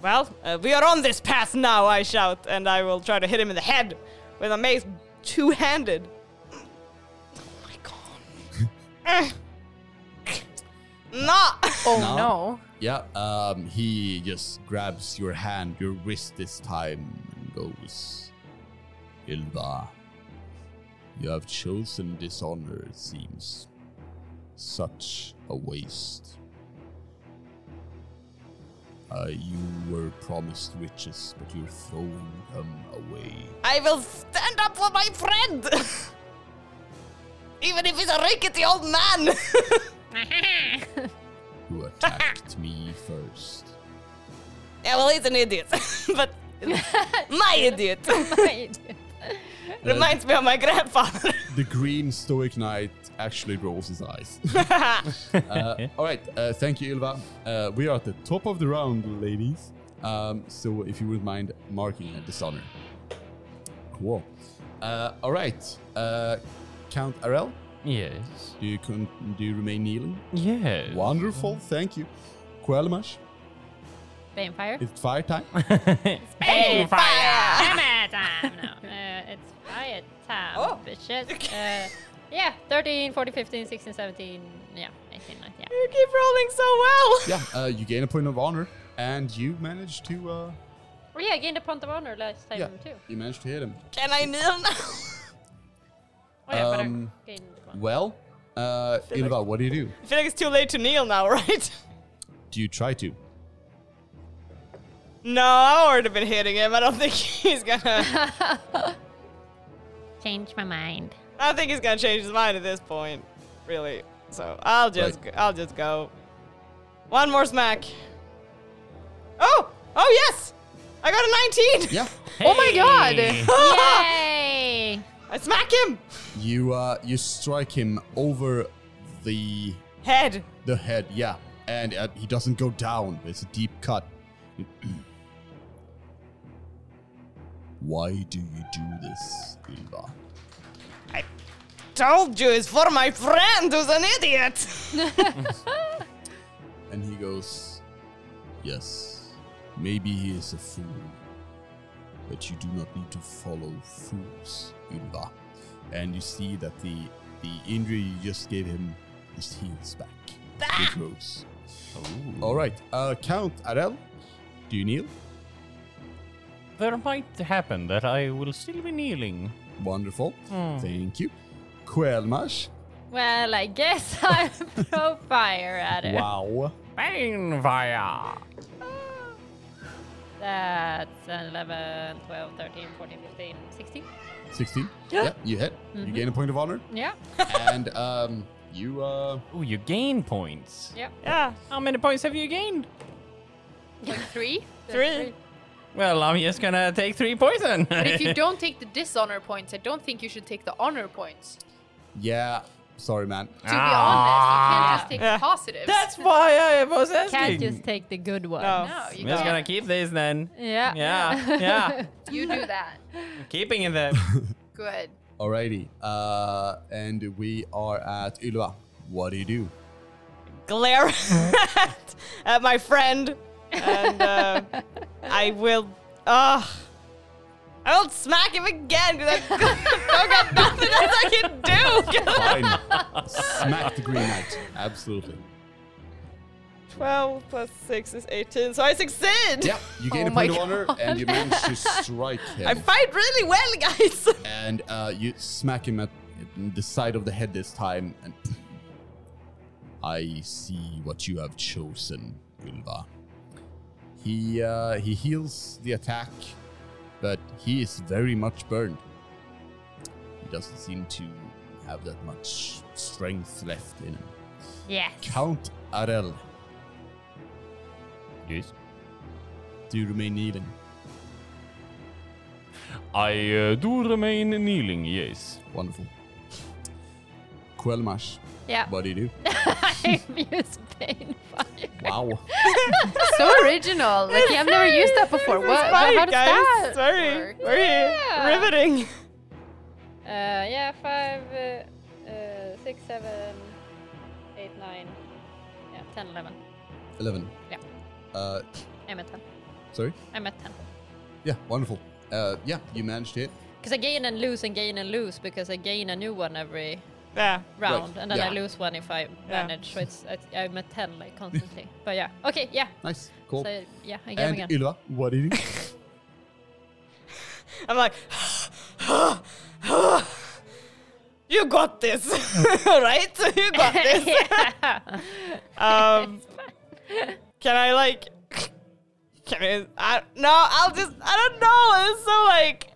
Speaker 5: Well, uh, we are on this path now, I shout, and I will try to hit him in the head with a mace two handed. Oh my god. Eh. nah!
Speaker 6: Oh
Speaker 7: No.
Speaker 6: no.
Speaker 2: Yeah, um, he just grabs your hand, your wrist this time, and goes, Ilva, you have chosen dishonor, it seems. Such a waste. Uh, you were promised riches, but you're throwing them away.
Speaker 5: I will stand up for my friend! Even if he's a rickety old man!
Speaker 2: You attacked me first.
Speaker 5: yeah, well, he's an idiot. but my idiot reminds me of my grandfather.
Speaker 7: The green stoic knight actually rolls his eyes. uh, all right, uh, thank you, Ilva. Uh, we are at the top of the round, ladies. Um, so if you would mind marking a dishonor. Cool. Uh, all right, uh, Count Arel,
Speaker 1: Yes.
Speaker 7: do you con- do you remain kneeling?
Speaker 1: Yes.
Speaker 7: Wonderful, thank you. Quelmash,
Speaker 3: Vampire?
Speaker 7: it's fire time.
Speaker 3: Hey, fire! Hammer time! No, uh, it's fire time,
Speaker 5: Oh.
Speaker 3: bitches. Uh, yeah, 13, 14, 15, 16, 17, yeah, 18, 19, yeah.
Speaker 5: you keep rolling so well!
Speaker 7: yeah, uh, you gain a point of honor, and you manage to uh,
Speaker 3: Oh yeah, I gained a point of honor last time
Speaker 7: yeah,
Speaker 3: too.
Speaker 7: you manage to hit him.
Speaker 5: Can I kneel now?
Speaker 3: Oh yeah,
Speaker 7: Um,
Speaker 3: but I gained one.
Speaker 7: Well, uh, Ilva, what do you do?
Speaker 5: I feel like it's too late to kneel now, right?
Speaker 7: Do you try to?
Speaker 5: No, I already been hitting him. I don't think he's gonna.
Speaker 3: Change my mind.
Speaker 5: I don't think he's gonna change his mind at this point, really. So I'll just,
Speaker 7: Right.
Speaker 5: I'll just go. One more smack. Oh, oh yes, I got a 19.
Speaker 7: Yeah.
Speaker 6: Oh my god!
Speaker 3: Yay!
Speaker 5: I smack him.
Speaker 7: You uh, you strike him over the
Speaker 5: Head.
Speaker 7: the head, yeah, and uh, he doesn't go down. It's a deep cut.
Speaker 2: Why do you do this, Ilva?
Speaker 5: Told you, it's for my friend who's an idiot.
Speaker 2: And he goes, Yes, maybe he is a fool, but you do not need to follow fools, Ylva. And you see that the the injury you just gave him just heals back. It grows.
Speaker 7: All right, uh, Count Arel, do you kneel?
Speaker 1: There might happen that I will still be kneeling.
Speaker 7: Wonderful, thank you. Quelmash,
Speaker 3: Well, I guess I'm pro fire at it.
Speaker 7: wow,
Speaker 1: Bane fire.
Speaker 3: That's 11, 12, 13, 14, 15, 16.
Speaker 7: sixteen. Yeah, you hit. You gain a point of honor,
Speaker 3: Yeah,
Speaker 7: and um, you uh,
Speaker 1: Ooh, you gain points.
Speaker 3: yeah.
Speaker 5: Yeah.
Speaker 1: How many points have you gained?
Speaker 6: Like three?
Speaker 5: Three.
Speaker 1: Well, I'm just gonna take three poison.
Speaker 6: But if you don't take the dishonor points, I don't think you should take the honor points.
Speaker 7: yeah. Sorry, man.
Speaker 6: To be honest, you can't just take
Speaker 5: Ah.
Speaker 6: positives.
Speaker 1: That's why I was asking.
Speaker 3: Can't just take the good one.
Speaker 5: No.
Speaker 6: no, you
Speaker 1: I'm just gonna
Speaker 6: can't.
Speaker 1: keep this then.
Speaker 3: Yeah.
Speaker 1: Yeah, yeah.
Speaker 6: You do that.
Speaker 1: Keeping it there.
Speaker 6: Good.
Speaker 7: Alrighty, uh, and we are at Ylva. What do you do?
Speaker 5: glare at, at my friend, and uh, I will. Uh, I will smack him again because I don't got nothing else I can do.
Speaker 7: Fine.
Speaker 5: 'Cause
Speaker 7: Smack the Green Knight. Absolutely.
Speaker 5: Twelve plus six is eighteen, so I succeed.
Speaker 7: Yeah, you gain
Speaker 6: Oh
Speaker 7: a
Speaker 6: my
Speaker 7: point of honor and you manage to strike him.
Speaker 5: I fight really well, guys.
Speaker 7: and uh, you smack him at the side of the head this time. And
Speaker 2: I see what you have chosen, Ylva. He uh, he heals the attack, but he is very much burned. He doesn't seem to have that much strength left in him.
Speaker 3: Yes.
Speaker 2: Count Arel,
Speaker 1: Yes.
Speaker 2: do you remain kneeling?
Speaker 1: I uh, do remain kneeling, yes.
Speaker 7: wonderful. Quelmash,
Speaker 3: Yeah.
Speaker 7: what do you do?
Speaker 3: I use pain fire.
Speaker 7: Wow.
Speaker 6: So original. Like I've never used that before. What? what
Speaker 5: Sorry,
Speaker 6: how does
Speaker 5: guys.
Speaker 6: that?
Speaker 5: Sorry,
Speaker 6: work?
Speaker 5: very
Speaker 3: Yeah.
Speaker 5: riveting.
Speaker 3: Uh, yeah, five, uh, uh, six, seven, eight, nine, ten. nine, yeah, 10, 11.
Speaker 2: 11.
Speaker 3: Yeah.
Speaker 2: Uh,
Speaker 3: I'm at 10.
Speaker 2: sorry?
Speaker 3: I'm at 10.
Speaker 2: Yeah, wonderful. Uh, yeah, you managed it.
Speaker 3: Because I gain and lose and gain and lose because I gain a new one every
Speaker 5: Yeah.
Speaker 3: round and then I
Speaker 2: yeah.
Speaker 3: lose one if I
Speaker 5: Yeah.
Speaker 3: manage. So it's, it's I'm at 10 like constantly. but yeah. Okay, yeah.
Speaker 2: Nice, cool.
Speaker 3: So yeah, I game
Speaker 2: and
Speaker 3: again.
Speaker 2: Ylva, what do you do?
Speaker 5: I'm like, you got this, right? You got this. um, can I like? Can I? I no, I'll just. I don't know. It's so like.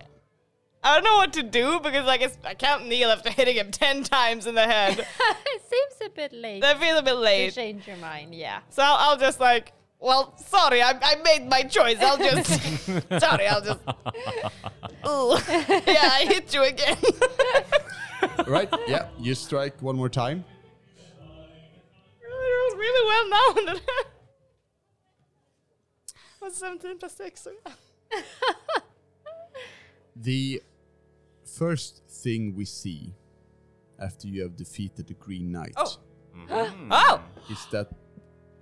Speaker 5: I don't know what to do because like it's, I can't kneel after hitting him ten times in the head.
Speaker 3: it seems a bit late.
Speaker 5: that feels a bit
Speaker 3: You
Speaker 5: late.
Speaker 3: change your mind, yeah.
Speaker 5: So I'll, I'll just like, well, sorry, I, I made my choice. I'll just, sorry, I'll just. Ooh. yeah, I hit you again.
Speaker 2: right? Yeah, you strike one more time.
Speaker 5: it was really well known. that- was 17 plus 6. So yeah.
Speaker 2: The first thing we see after you have defeated the Green Knight
Speaker 5: Oh. Oh!
Speaker 2: is that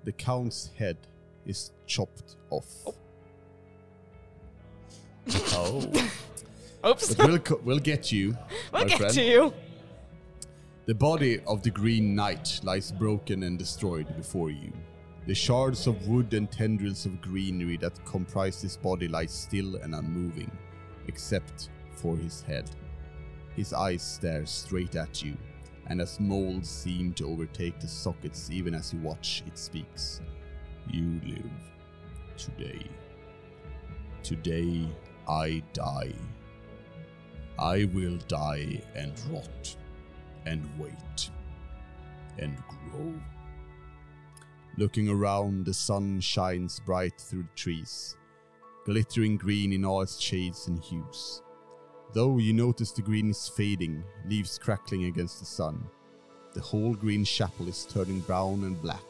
Speaker 2: the Count's head is chopped off.
Speaker 8: Oh.
Speaker 5: Oops.
Speaker 2: But we'll, co- we'll get you.
Speaker 5: We'll
Speaker 2: my
Speaker 5: get
Speaker 2: friend.
Speaker 5: to you.
Speaker 2: The body of the Green Knight lies broken and destroyed before you. The shards of wood and tendrils of greenery that comprise his body lie still and unmoving, except for his head. His eyes stare straight at you, and as molds seem to overtake the sockets even as you watch, it speaks. You live. Today. Today I die. I will die and rot and wait and grow. Looking around, the sun shines bright through the trees, glittering green in all its shades and hues. Though you notice the green is fading, leaves crackling against the sun, the whole green chapel is turning brown and black.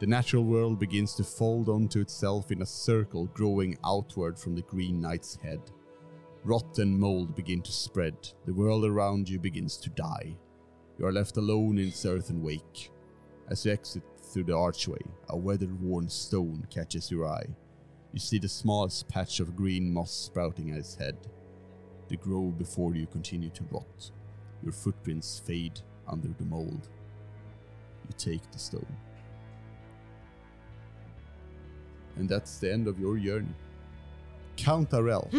Speaker 2: The natural world begins to fold onto itself in a circle growing outward from the green knight's head. Rot and mold begin to spread. The world around you begins to die. You are left alone in its earthen wake. As you exit through the archway, a weather-worn stone catches your eye. You see the smallest patch of green moss sprouting at its head. The grove before you continue to rot. Your footprints fade under the mold. You take the stone. And that's the end of your journey. Count Arel.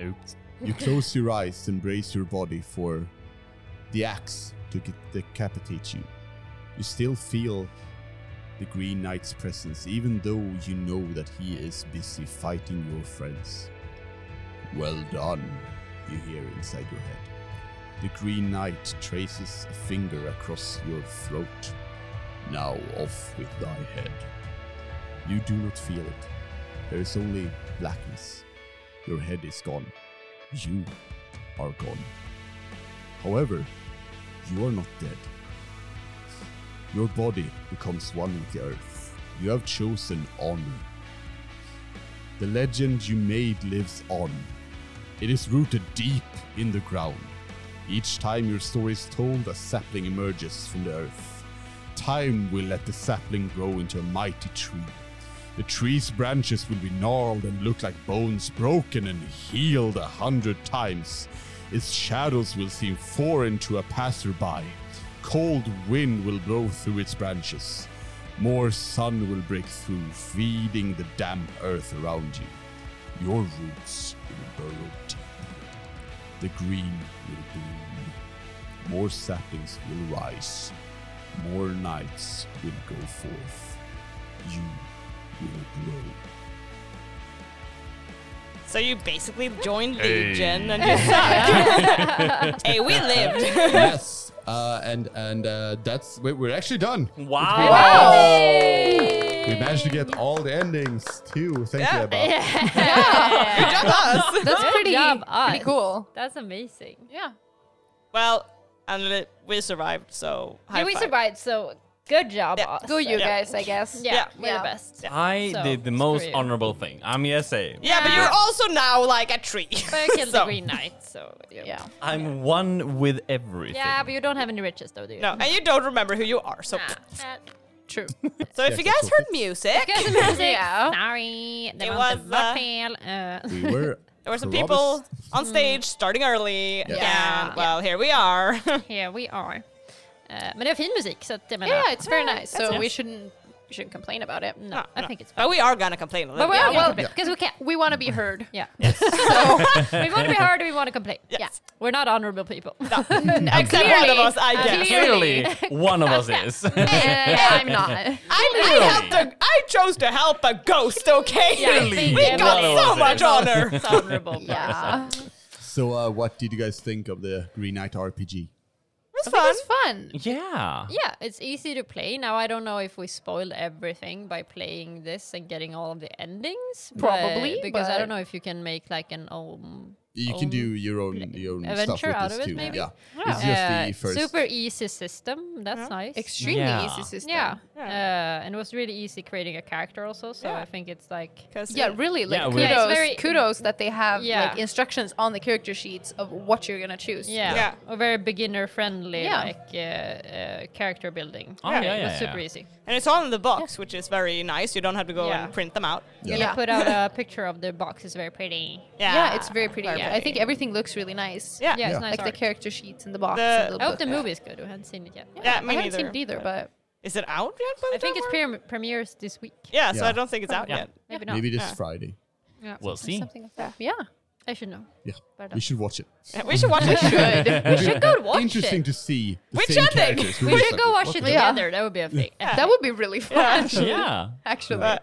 Speaker 1: Oops.
Speaker 2: You close your eyes and brace your body for the axe to get decapitate you. You still feel the Green Knight's presence, even though you know that he is busy fighting your friends. Well done, you hear inside your head. The Green Knight traces a finger across your throat. Now off with thy head. You do not feel it. There is only blackness. Your head is gone you are gone. However, you are not dead. Your body becomes one with the earth. You have chosen honor. The legend you made lives on. It is rooted deep in the ground. Each time your story is told, a sapling emerges from the earth. Time will let the sapling grow into a mighty tree. The tree's branches will be gnarled and look like bones broken and healed a hundred times. Its shadows will seem foreign to a passerby. Cold wind will blow through its branches. More sun will break through, feeding the damp earth around you. Your roots will burrow deep. The green will bloom. More saplings will rise. More nights will go forth. You will grow.
Speaker 5: So you basically joined Legion and you suck. hey, we lived.
Speaker 2: yes, uh, and and uh, that's we- we're actually done.
Speaker 1: Wow.
Speaker 5: Oh.
Speaker 2: We managed to get all the endings too. Thank
Speaker 5: Yeah.
Speaker 2: you, Ebba.
Speaker 5: Good job, us.
Speaker 6: That's pretty,
Speaker 3: job,
Speaker 6: pretty
Speaker 3: us.
Speaker 6: cool.
Speaker 3: That's amazing.
Speaker 6: Yeah.
Speaker 5: Well, and li- we survived, so high
Speaker 3: Yeah, we
Speaker 5: five.
Speaker 3: survived, so Good job,
Speaker 5: Yeah.
Speaker 3: us.
Speaker 6: Go you
Speaker 5: Yeah.
Speaker 6: guys, I guess.
Speaker 3: Yeah,
Speaker 5: Yeah.
Speaker 3: we're
Speaker 6: Yeah.
Speaker 3: the best.
Speaker 1: I
Speaker 3: So,
Speaker 1: did the
Speaker 3: screw
Speaker 1: most
Speaker 3: you.
Speaker 1: honorable thing. I'm Yasei.
Speaker 5: Yeah, but you're also now like a tree.
Speaker 3: But I killed
Speaker 5: So-
Speaker 3: the Green Knight, so yeah.
Speaker 6: Yeah.
Speaker 1: I'm one with everything.
Speaker 3: Yeah, but you don't have any riches though, do you?
Speaker 5: No, and you don't remember who you are. So,
Speaker 3: Nah.
Speaker 6: True.
Speaker 5: so if you
Speaker 7: Yeah,
Speaker 5: guys
Speaker 7: so-
Speaker 5: heard music,
Speaker 6: yeah.
Speaker 3: Sorry, the
Speaker 5: It
Speaker 3: month of
Speaker 5: was, uh,
Speaker 3: Raphael, uh,
Speaker 6: Mm.
Speaker 2: We were.
Speaker 5: there were some
Speaker 2: Robust.
Speaker 5: people on stage starting early,
Speaker 6: Yeah.
Speaker 5: and well, here we are.
Speaker 3: Here we are. Eh, men det är fin musik, så att jag menar...
Speaker 6: Yeah, it's very nice.
Speaker 5: that's
Speaker 6: So we
Speaker 5: nice.
Speaker 6: shouldn't we shouldn't complain about it.
Speaker 3: no, I think it's fine.
Speaker 5: but we are gonna complain a little.
Speaker 3: But we
Speaker 5: bit.
Speaker 3: are
Speaker 6: well,
Speaker 3: well, because we can.
Speaker 6: We want to be heard.
Speaker 3: Yeah. so we want to be heard. We want to complain. Yeah. We're not honorable people.
Speaker 5: Except one of
Speaker 6: Clearly.
Speaker 5: us, I guess.
Speaker 1: Clearly, one of us is.
Speaker 3: Uh,
Speaker 6: And I'm not.
Speaker 5: I, I helped. A, I chose to help a ghost. Okay,
Speaker 1: Clearly,
Speaker 5: we got
Speaker 1: one of us
Speaker 5: so
Speaker 1: is.
Speaker 5: much honor.
Speaker 3: It's honorable.
Speaker 6: Yeah. It
Speaker 2: So, uh, what did you guys think of the Green Knight RPG?
Speaker 5: It's fun.
Speaker 6: was fun.
Speaker 1: Yeah.
Speaker 3: Yeah, it's easy to play. Now I don't know if we spoiled everything by playing this and getting all of the endings. but-
Speaker 6: Probably,
Speaker 3: because I don't
Speaker 6: but-
Speaker 3: know if you can make like an um,
Speaker 2: You can
Speaker 3: own
Speaker 2: do your own your own stuff
Speaker 3: adventure
Speaker 2: with
Speaker 3: out
Speaker 2: this
Speaker 3: of it,
Speaker 2: too.
Speaker 3: maybe?
Speaker 2: Yeah,
Speaker 3: uh,
Speaker 2: it's just the E first.
Speaker 3: super easy system. That's nice.
Speaker 6: Extremely
Speaker 1: Yeah.
Speaker 6: easy system.
Speaker 3: yeah, Uh, and it was really easy creating a character also. So I think it's like
Speaker 5: 'Cause
Speaker 6: Yeah,
Speaker 5: it-
Speaker 6: really. Like
Speaker 1: Yeah, we-
Speaker 6: kudos,
Speaker 3: Yeah, it's very-
Speaker 6: kudos that they have
Speaker 3: Yeah.
Speaker 6: like instructions on the character sheets of what you're gonna choose.
Speaker 3: Yeah.
Speaker 5: Yeah.
Speaker 3: Or very beginner friendly,
Speaker 6: Yeah.
Speaker 3: like uh, uh, character building.
Speaker 1: Oh,
Speaker 5: Yeah.
Speaker 1: yeah,
Speaker 3: it was
Speaker 1: yeah,
Speaker 3: super
Speaker 1: yeah.
Speaker 3: easy.
Speaker 5: and it's all in the box, which is very nice. You don't have to go
Speaker 3: Yeah.
Speaker 5: and print them out.
Speaker 2: Yeah.
Speaker 3: And I put out a picture of the box. It's very pretty.
Speaker 5: Yeah,
Speaker 6: Yeah, it's very pretty.
Speaker 5: Very
Speaker 6: I think everything looks really nice.
Speaker 5: Yeah.
Speaker 3: Yeah, it's nice
Speaker 6: Like the
Speaker 3: art.
Speaker 6: character sheets in the box.
Speaker 5: The-
Speaker 6: and
Speaker 3: I hope the
Speaker 6: book.
Speaker 3: movie is good. We haven't seen it yet.
Speaker 5: Yeah,
Speaker 6: I
Speaker 5: me
Speaker 6: haven't
Speaker 5: neither.
Speaker 6: seen it either, but
Speaker 5: Is it out yet? By the
Speaker 3: I think
Speaker 5: time
Speaker 3: it's
Speaker 5: we're-
Speaker 3: pre- premieres this week.
Speaker 5: Yeah, so
Speaker 2: Yeah.
Speaker 5: I don't think it's out
Speaker 1: Yeah.
Speaker 5: yet.
Speaker 3: Maybe not.
Speaker 2: Maybe this
Speaker 5: Yeah.
Speaker 2: Friday.
Speaker 1: We'll see.
Speaker 6: something like that. Yeah.
Speaker 3: I should know.
Speaker 2: Yeah,
Speaker 3: But, uh,
Speaker 2: we should watch it.
Speaker 5: Yeah, We should watch it.
Speaker 6: Good.
Speaker 3: We should go watch
Speaker 2: Interesting
Speaker 3: it.
Speaker 2: to see the
Speaker 5: Which
Speaker 2: same
Speaker 5: ending?
Speaker 2: characters.
Speaker 3: We
Speaker 2: were
Speaker 3: should
Speaker 2: like,
Speaker 3: go
Speaker 2: what
Speaker 3: watch it
Speaker 2: the-
Speaker 3: together. That would be a thing.
Speaker 6: that would be really fun.
Speaker 1: Yeah.
Speaker 6: Actually.
Speaker 5: Uh,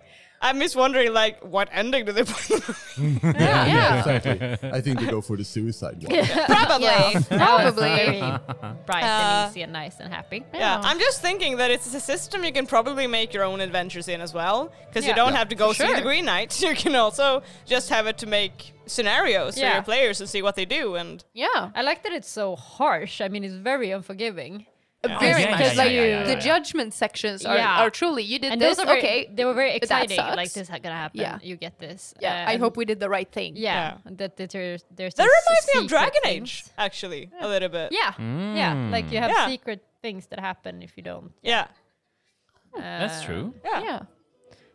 Speaker 5: I'm just wondering, like, what ending do they put?
Speaker 2: Yeah,
Speaker 6: Yeah.
Speaker 2: exactly. I think they go for the suicide one.
Speaker 5: Probably. Yeah.
Speaker 6: Probably.
Speaker 3: Very bright
Speaker 5: Uh,
Speaker 3: and easy and nice and happy.
Speaker 5: I'm just thinking that it's a system you can probably make your own adventures in as well, because you
Speaker 3: Yeah.
Speaker 5: don't
Speaker 3: Yeah.
Speaker 5: have to go
Speaker 6: For
Speaker 5: see the
Speaker 6: sure.
Speaker 5: Green Knight. You can also just have it to make scenarios for
Speaker 3: Yeah.
Speaker 5: your players and see what they do. And
Speaker 6: Yeah.
Speaker 3: I like that it's so harsh. I mean, it's very unforgiving.
Speaker 6: Very
Speaker 1: Yeah,
Speaker 6: much.
Speaker 1: yeah, yeah,
Speaker 6: like
Speaker 1: yeah, yeah,
Speaker 6: the
Speaker 1: yeah.
Speaker 6: judgment sections are,
Speaker 3: Yeah.
Speaker 6: are truly you did
Speaker 3: and
Speaker 6: this.
Speaker 3: those are very,
Speaker 6: okay.
Speaker 3: They were very
Speaker 6: that
Speaker 3: exciting. Like
Speaker 6: sucks.
Speaker 3: this is gonna happen.
Speaker 6: Yeah.
Speaker 3: You get this.
Speaker 6: Yeah.
Speaker 3: Uh,
Speaker 6: I
Speaker 3: and
Speaker 6: hope we did the right thing.
Speaker 3: Yeah. That, that there's there's
Speaker 5: that
Speaker 3: these
Speaker 5: reminds me of
Speaker 3: secret
Speaker 5: Dragon
Speaker 3: things.
Speaker 5: Age, actually, a little bit.
Speaker 3: Yeah. Yeah. Like you have
Speaker 5: Yeah.
Speaker 3: secret things that happen if you don't.
Speaker 5: Yeah.
Speaker 1: That's
Speaker 3: uh,
Speaker 1: true.
Speaker 5: Yeah.
Speaker 6: Yeah.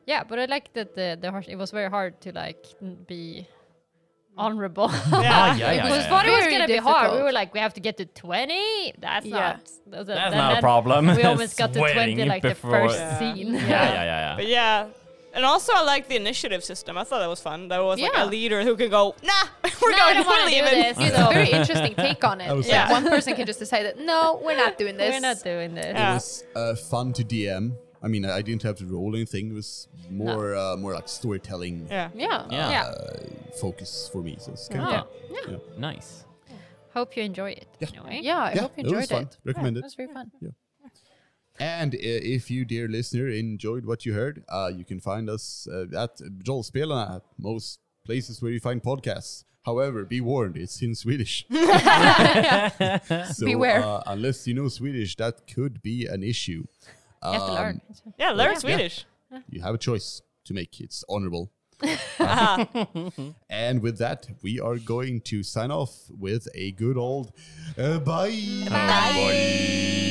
Speaker 3: Yeah, but I like that the the harsh. It was very hard to like n- be honorable.
Speaker 1: Ah,
Speaker 5: Yeah.
Speaker 1: yeah, yeah,
Speaker 3: Because
Speaker 1: yeah,
Speaker 3: thought
Speaker 1: yeah.
Speaker 3: it was
Speaker 6: Very
Speaker 3: gonna be hard. We
Speaker 6: difficult.
Speaker 3: were like, we have to get to twenty. That's
Speaker 6: Yeah.
Speaker 3: not. That's,
Speaker 1: That's not a problem.
Speaker 3: We almost got to twenty
Speaker 1: Sweating
Speaker 3: like the
Speaker 1: before-
Speaker 3: first
Speaker 5: Yeah.
Speaker 3: scene.
Speaker 1: Yeah, yeah, yeah, yeah.
Speaker 5: But yeah. And also, I like the initiative system. I thought that was fun. That was like
Speaker 6: Yeah.
Speaker 5: a leader who could go, nah, we're
Speaker 3: No, I
Speaker 5: going,
Speaker 3: don't
Speaker 5: we're
Speaker 3: wanna do
Speaker 5: leaving.
Speaker 3: this.
Speaker 6: It's
Speaker 3: So
Speaker 6: a very interesting take on it.
Speaker 2: was
Speaker 6: Like,
Speaker 5: like-
Speaker 6: one person can just decide that no, we're not doing this.
Speaker 3: we're not doing this.
Speaker 5: Yeah.
Speaker 2: It was uh, fun to DM. I mean, I I didn't have to roll anything. It was more uh, more like storytelling
Speaker 5: Yeah.
Speaker 6: Yeah.
Speaker 1: Yeah.
Speaker 3: Yeah.
Speaker 2: focus for me. So it's kind
Speaker 1: Yeah.
Speaker 2: of fun.
Speaker 1: Nice.
Speaker 3: Hope you enjoy it. Anyway.
Speaker 6: Yeah, I
Speaker 2: Yeah,
Speaker 6: hope
Speaker 2: it
Speaker 6: you
Speaker 2: was
Speaker 6: enjoyed
Speaker 2: fun.
Speaker 6: it.
Speaker 2: Recommend
Speaker 6: yeah,
Speaker 2: it.
Speaker 6: was very fun.
Speaker 2: And uh, if you, dear listener, enjoyed what you heard, uh, you can find us uh, at Jollspelarna at most places where you find podcasts. However, be warned, it's in Swedish. so,
Speaker 6: Beware.
Speaker 2: Uh, unless you know Swedish, that could be an issue.
Speaker 3: You
Speaker 1: Um,
Speaker 3: have to learn.
Speaker 5: Yeah, learn Swedish.
Speaker 2: You have a choice to make. It's honorable. and with that, we are going to sign off with a good old uh, bye. bye.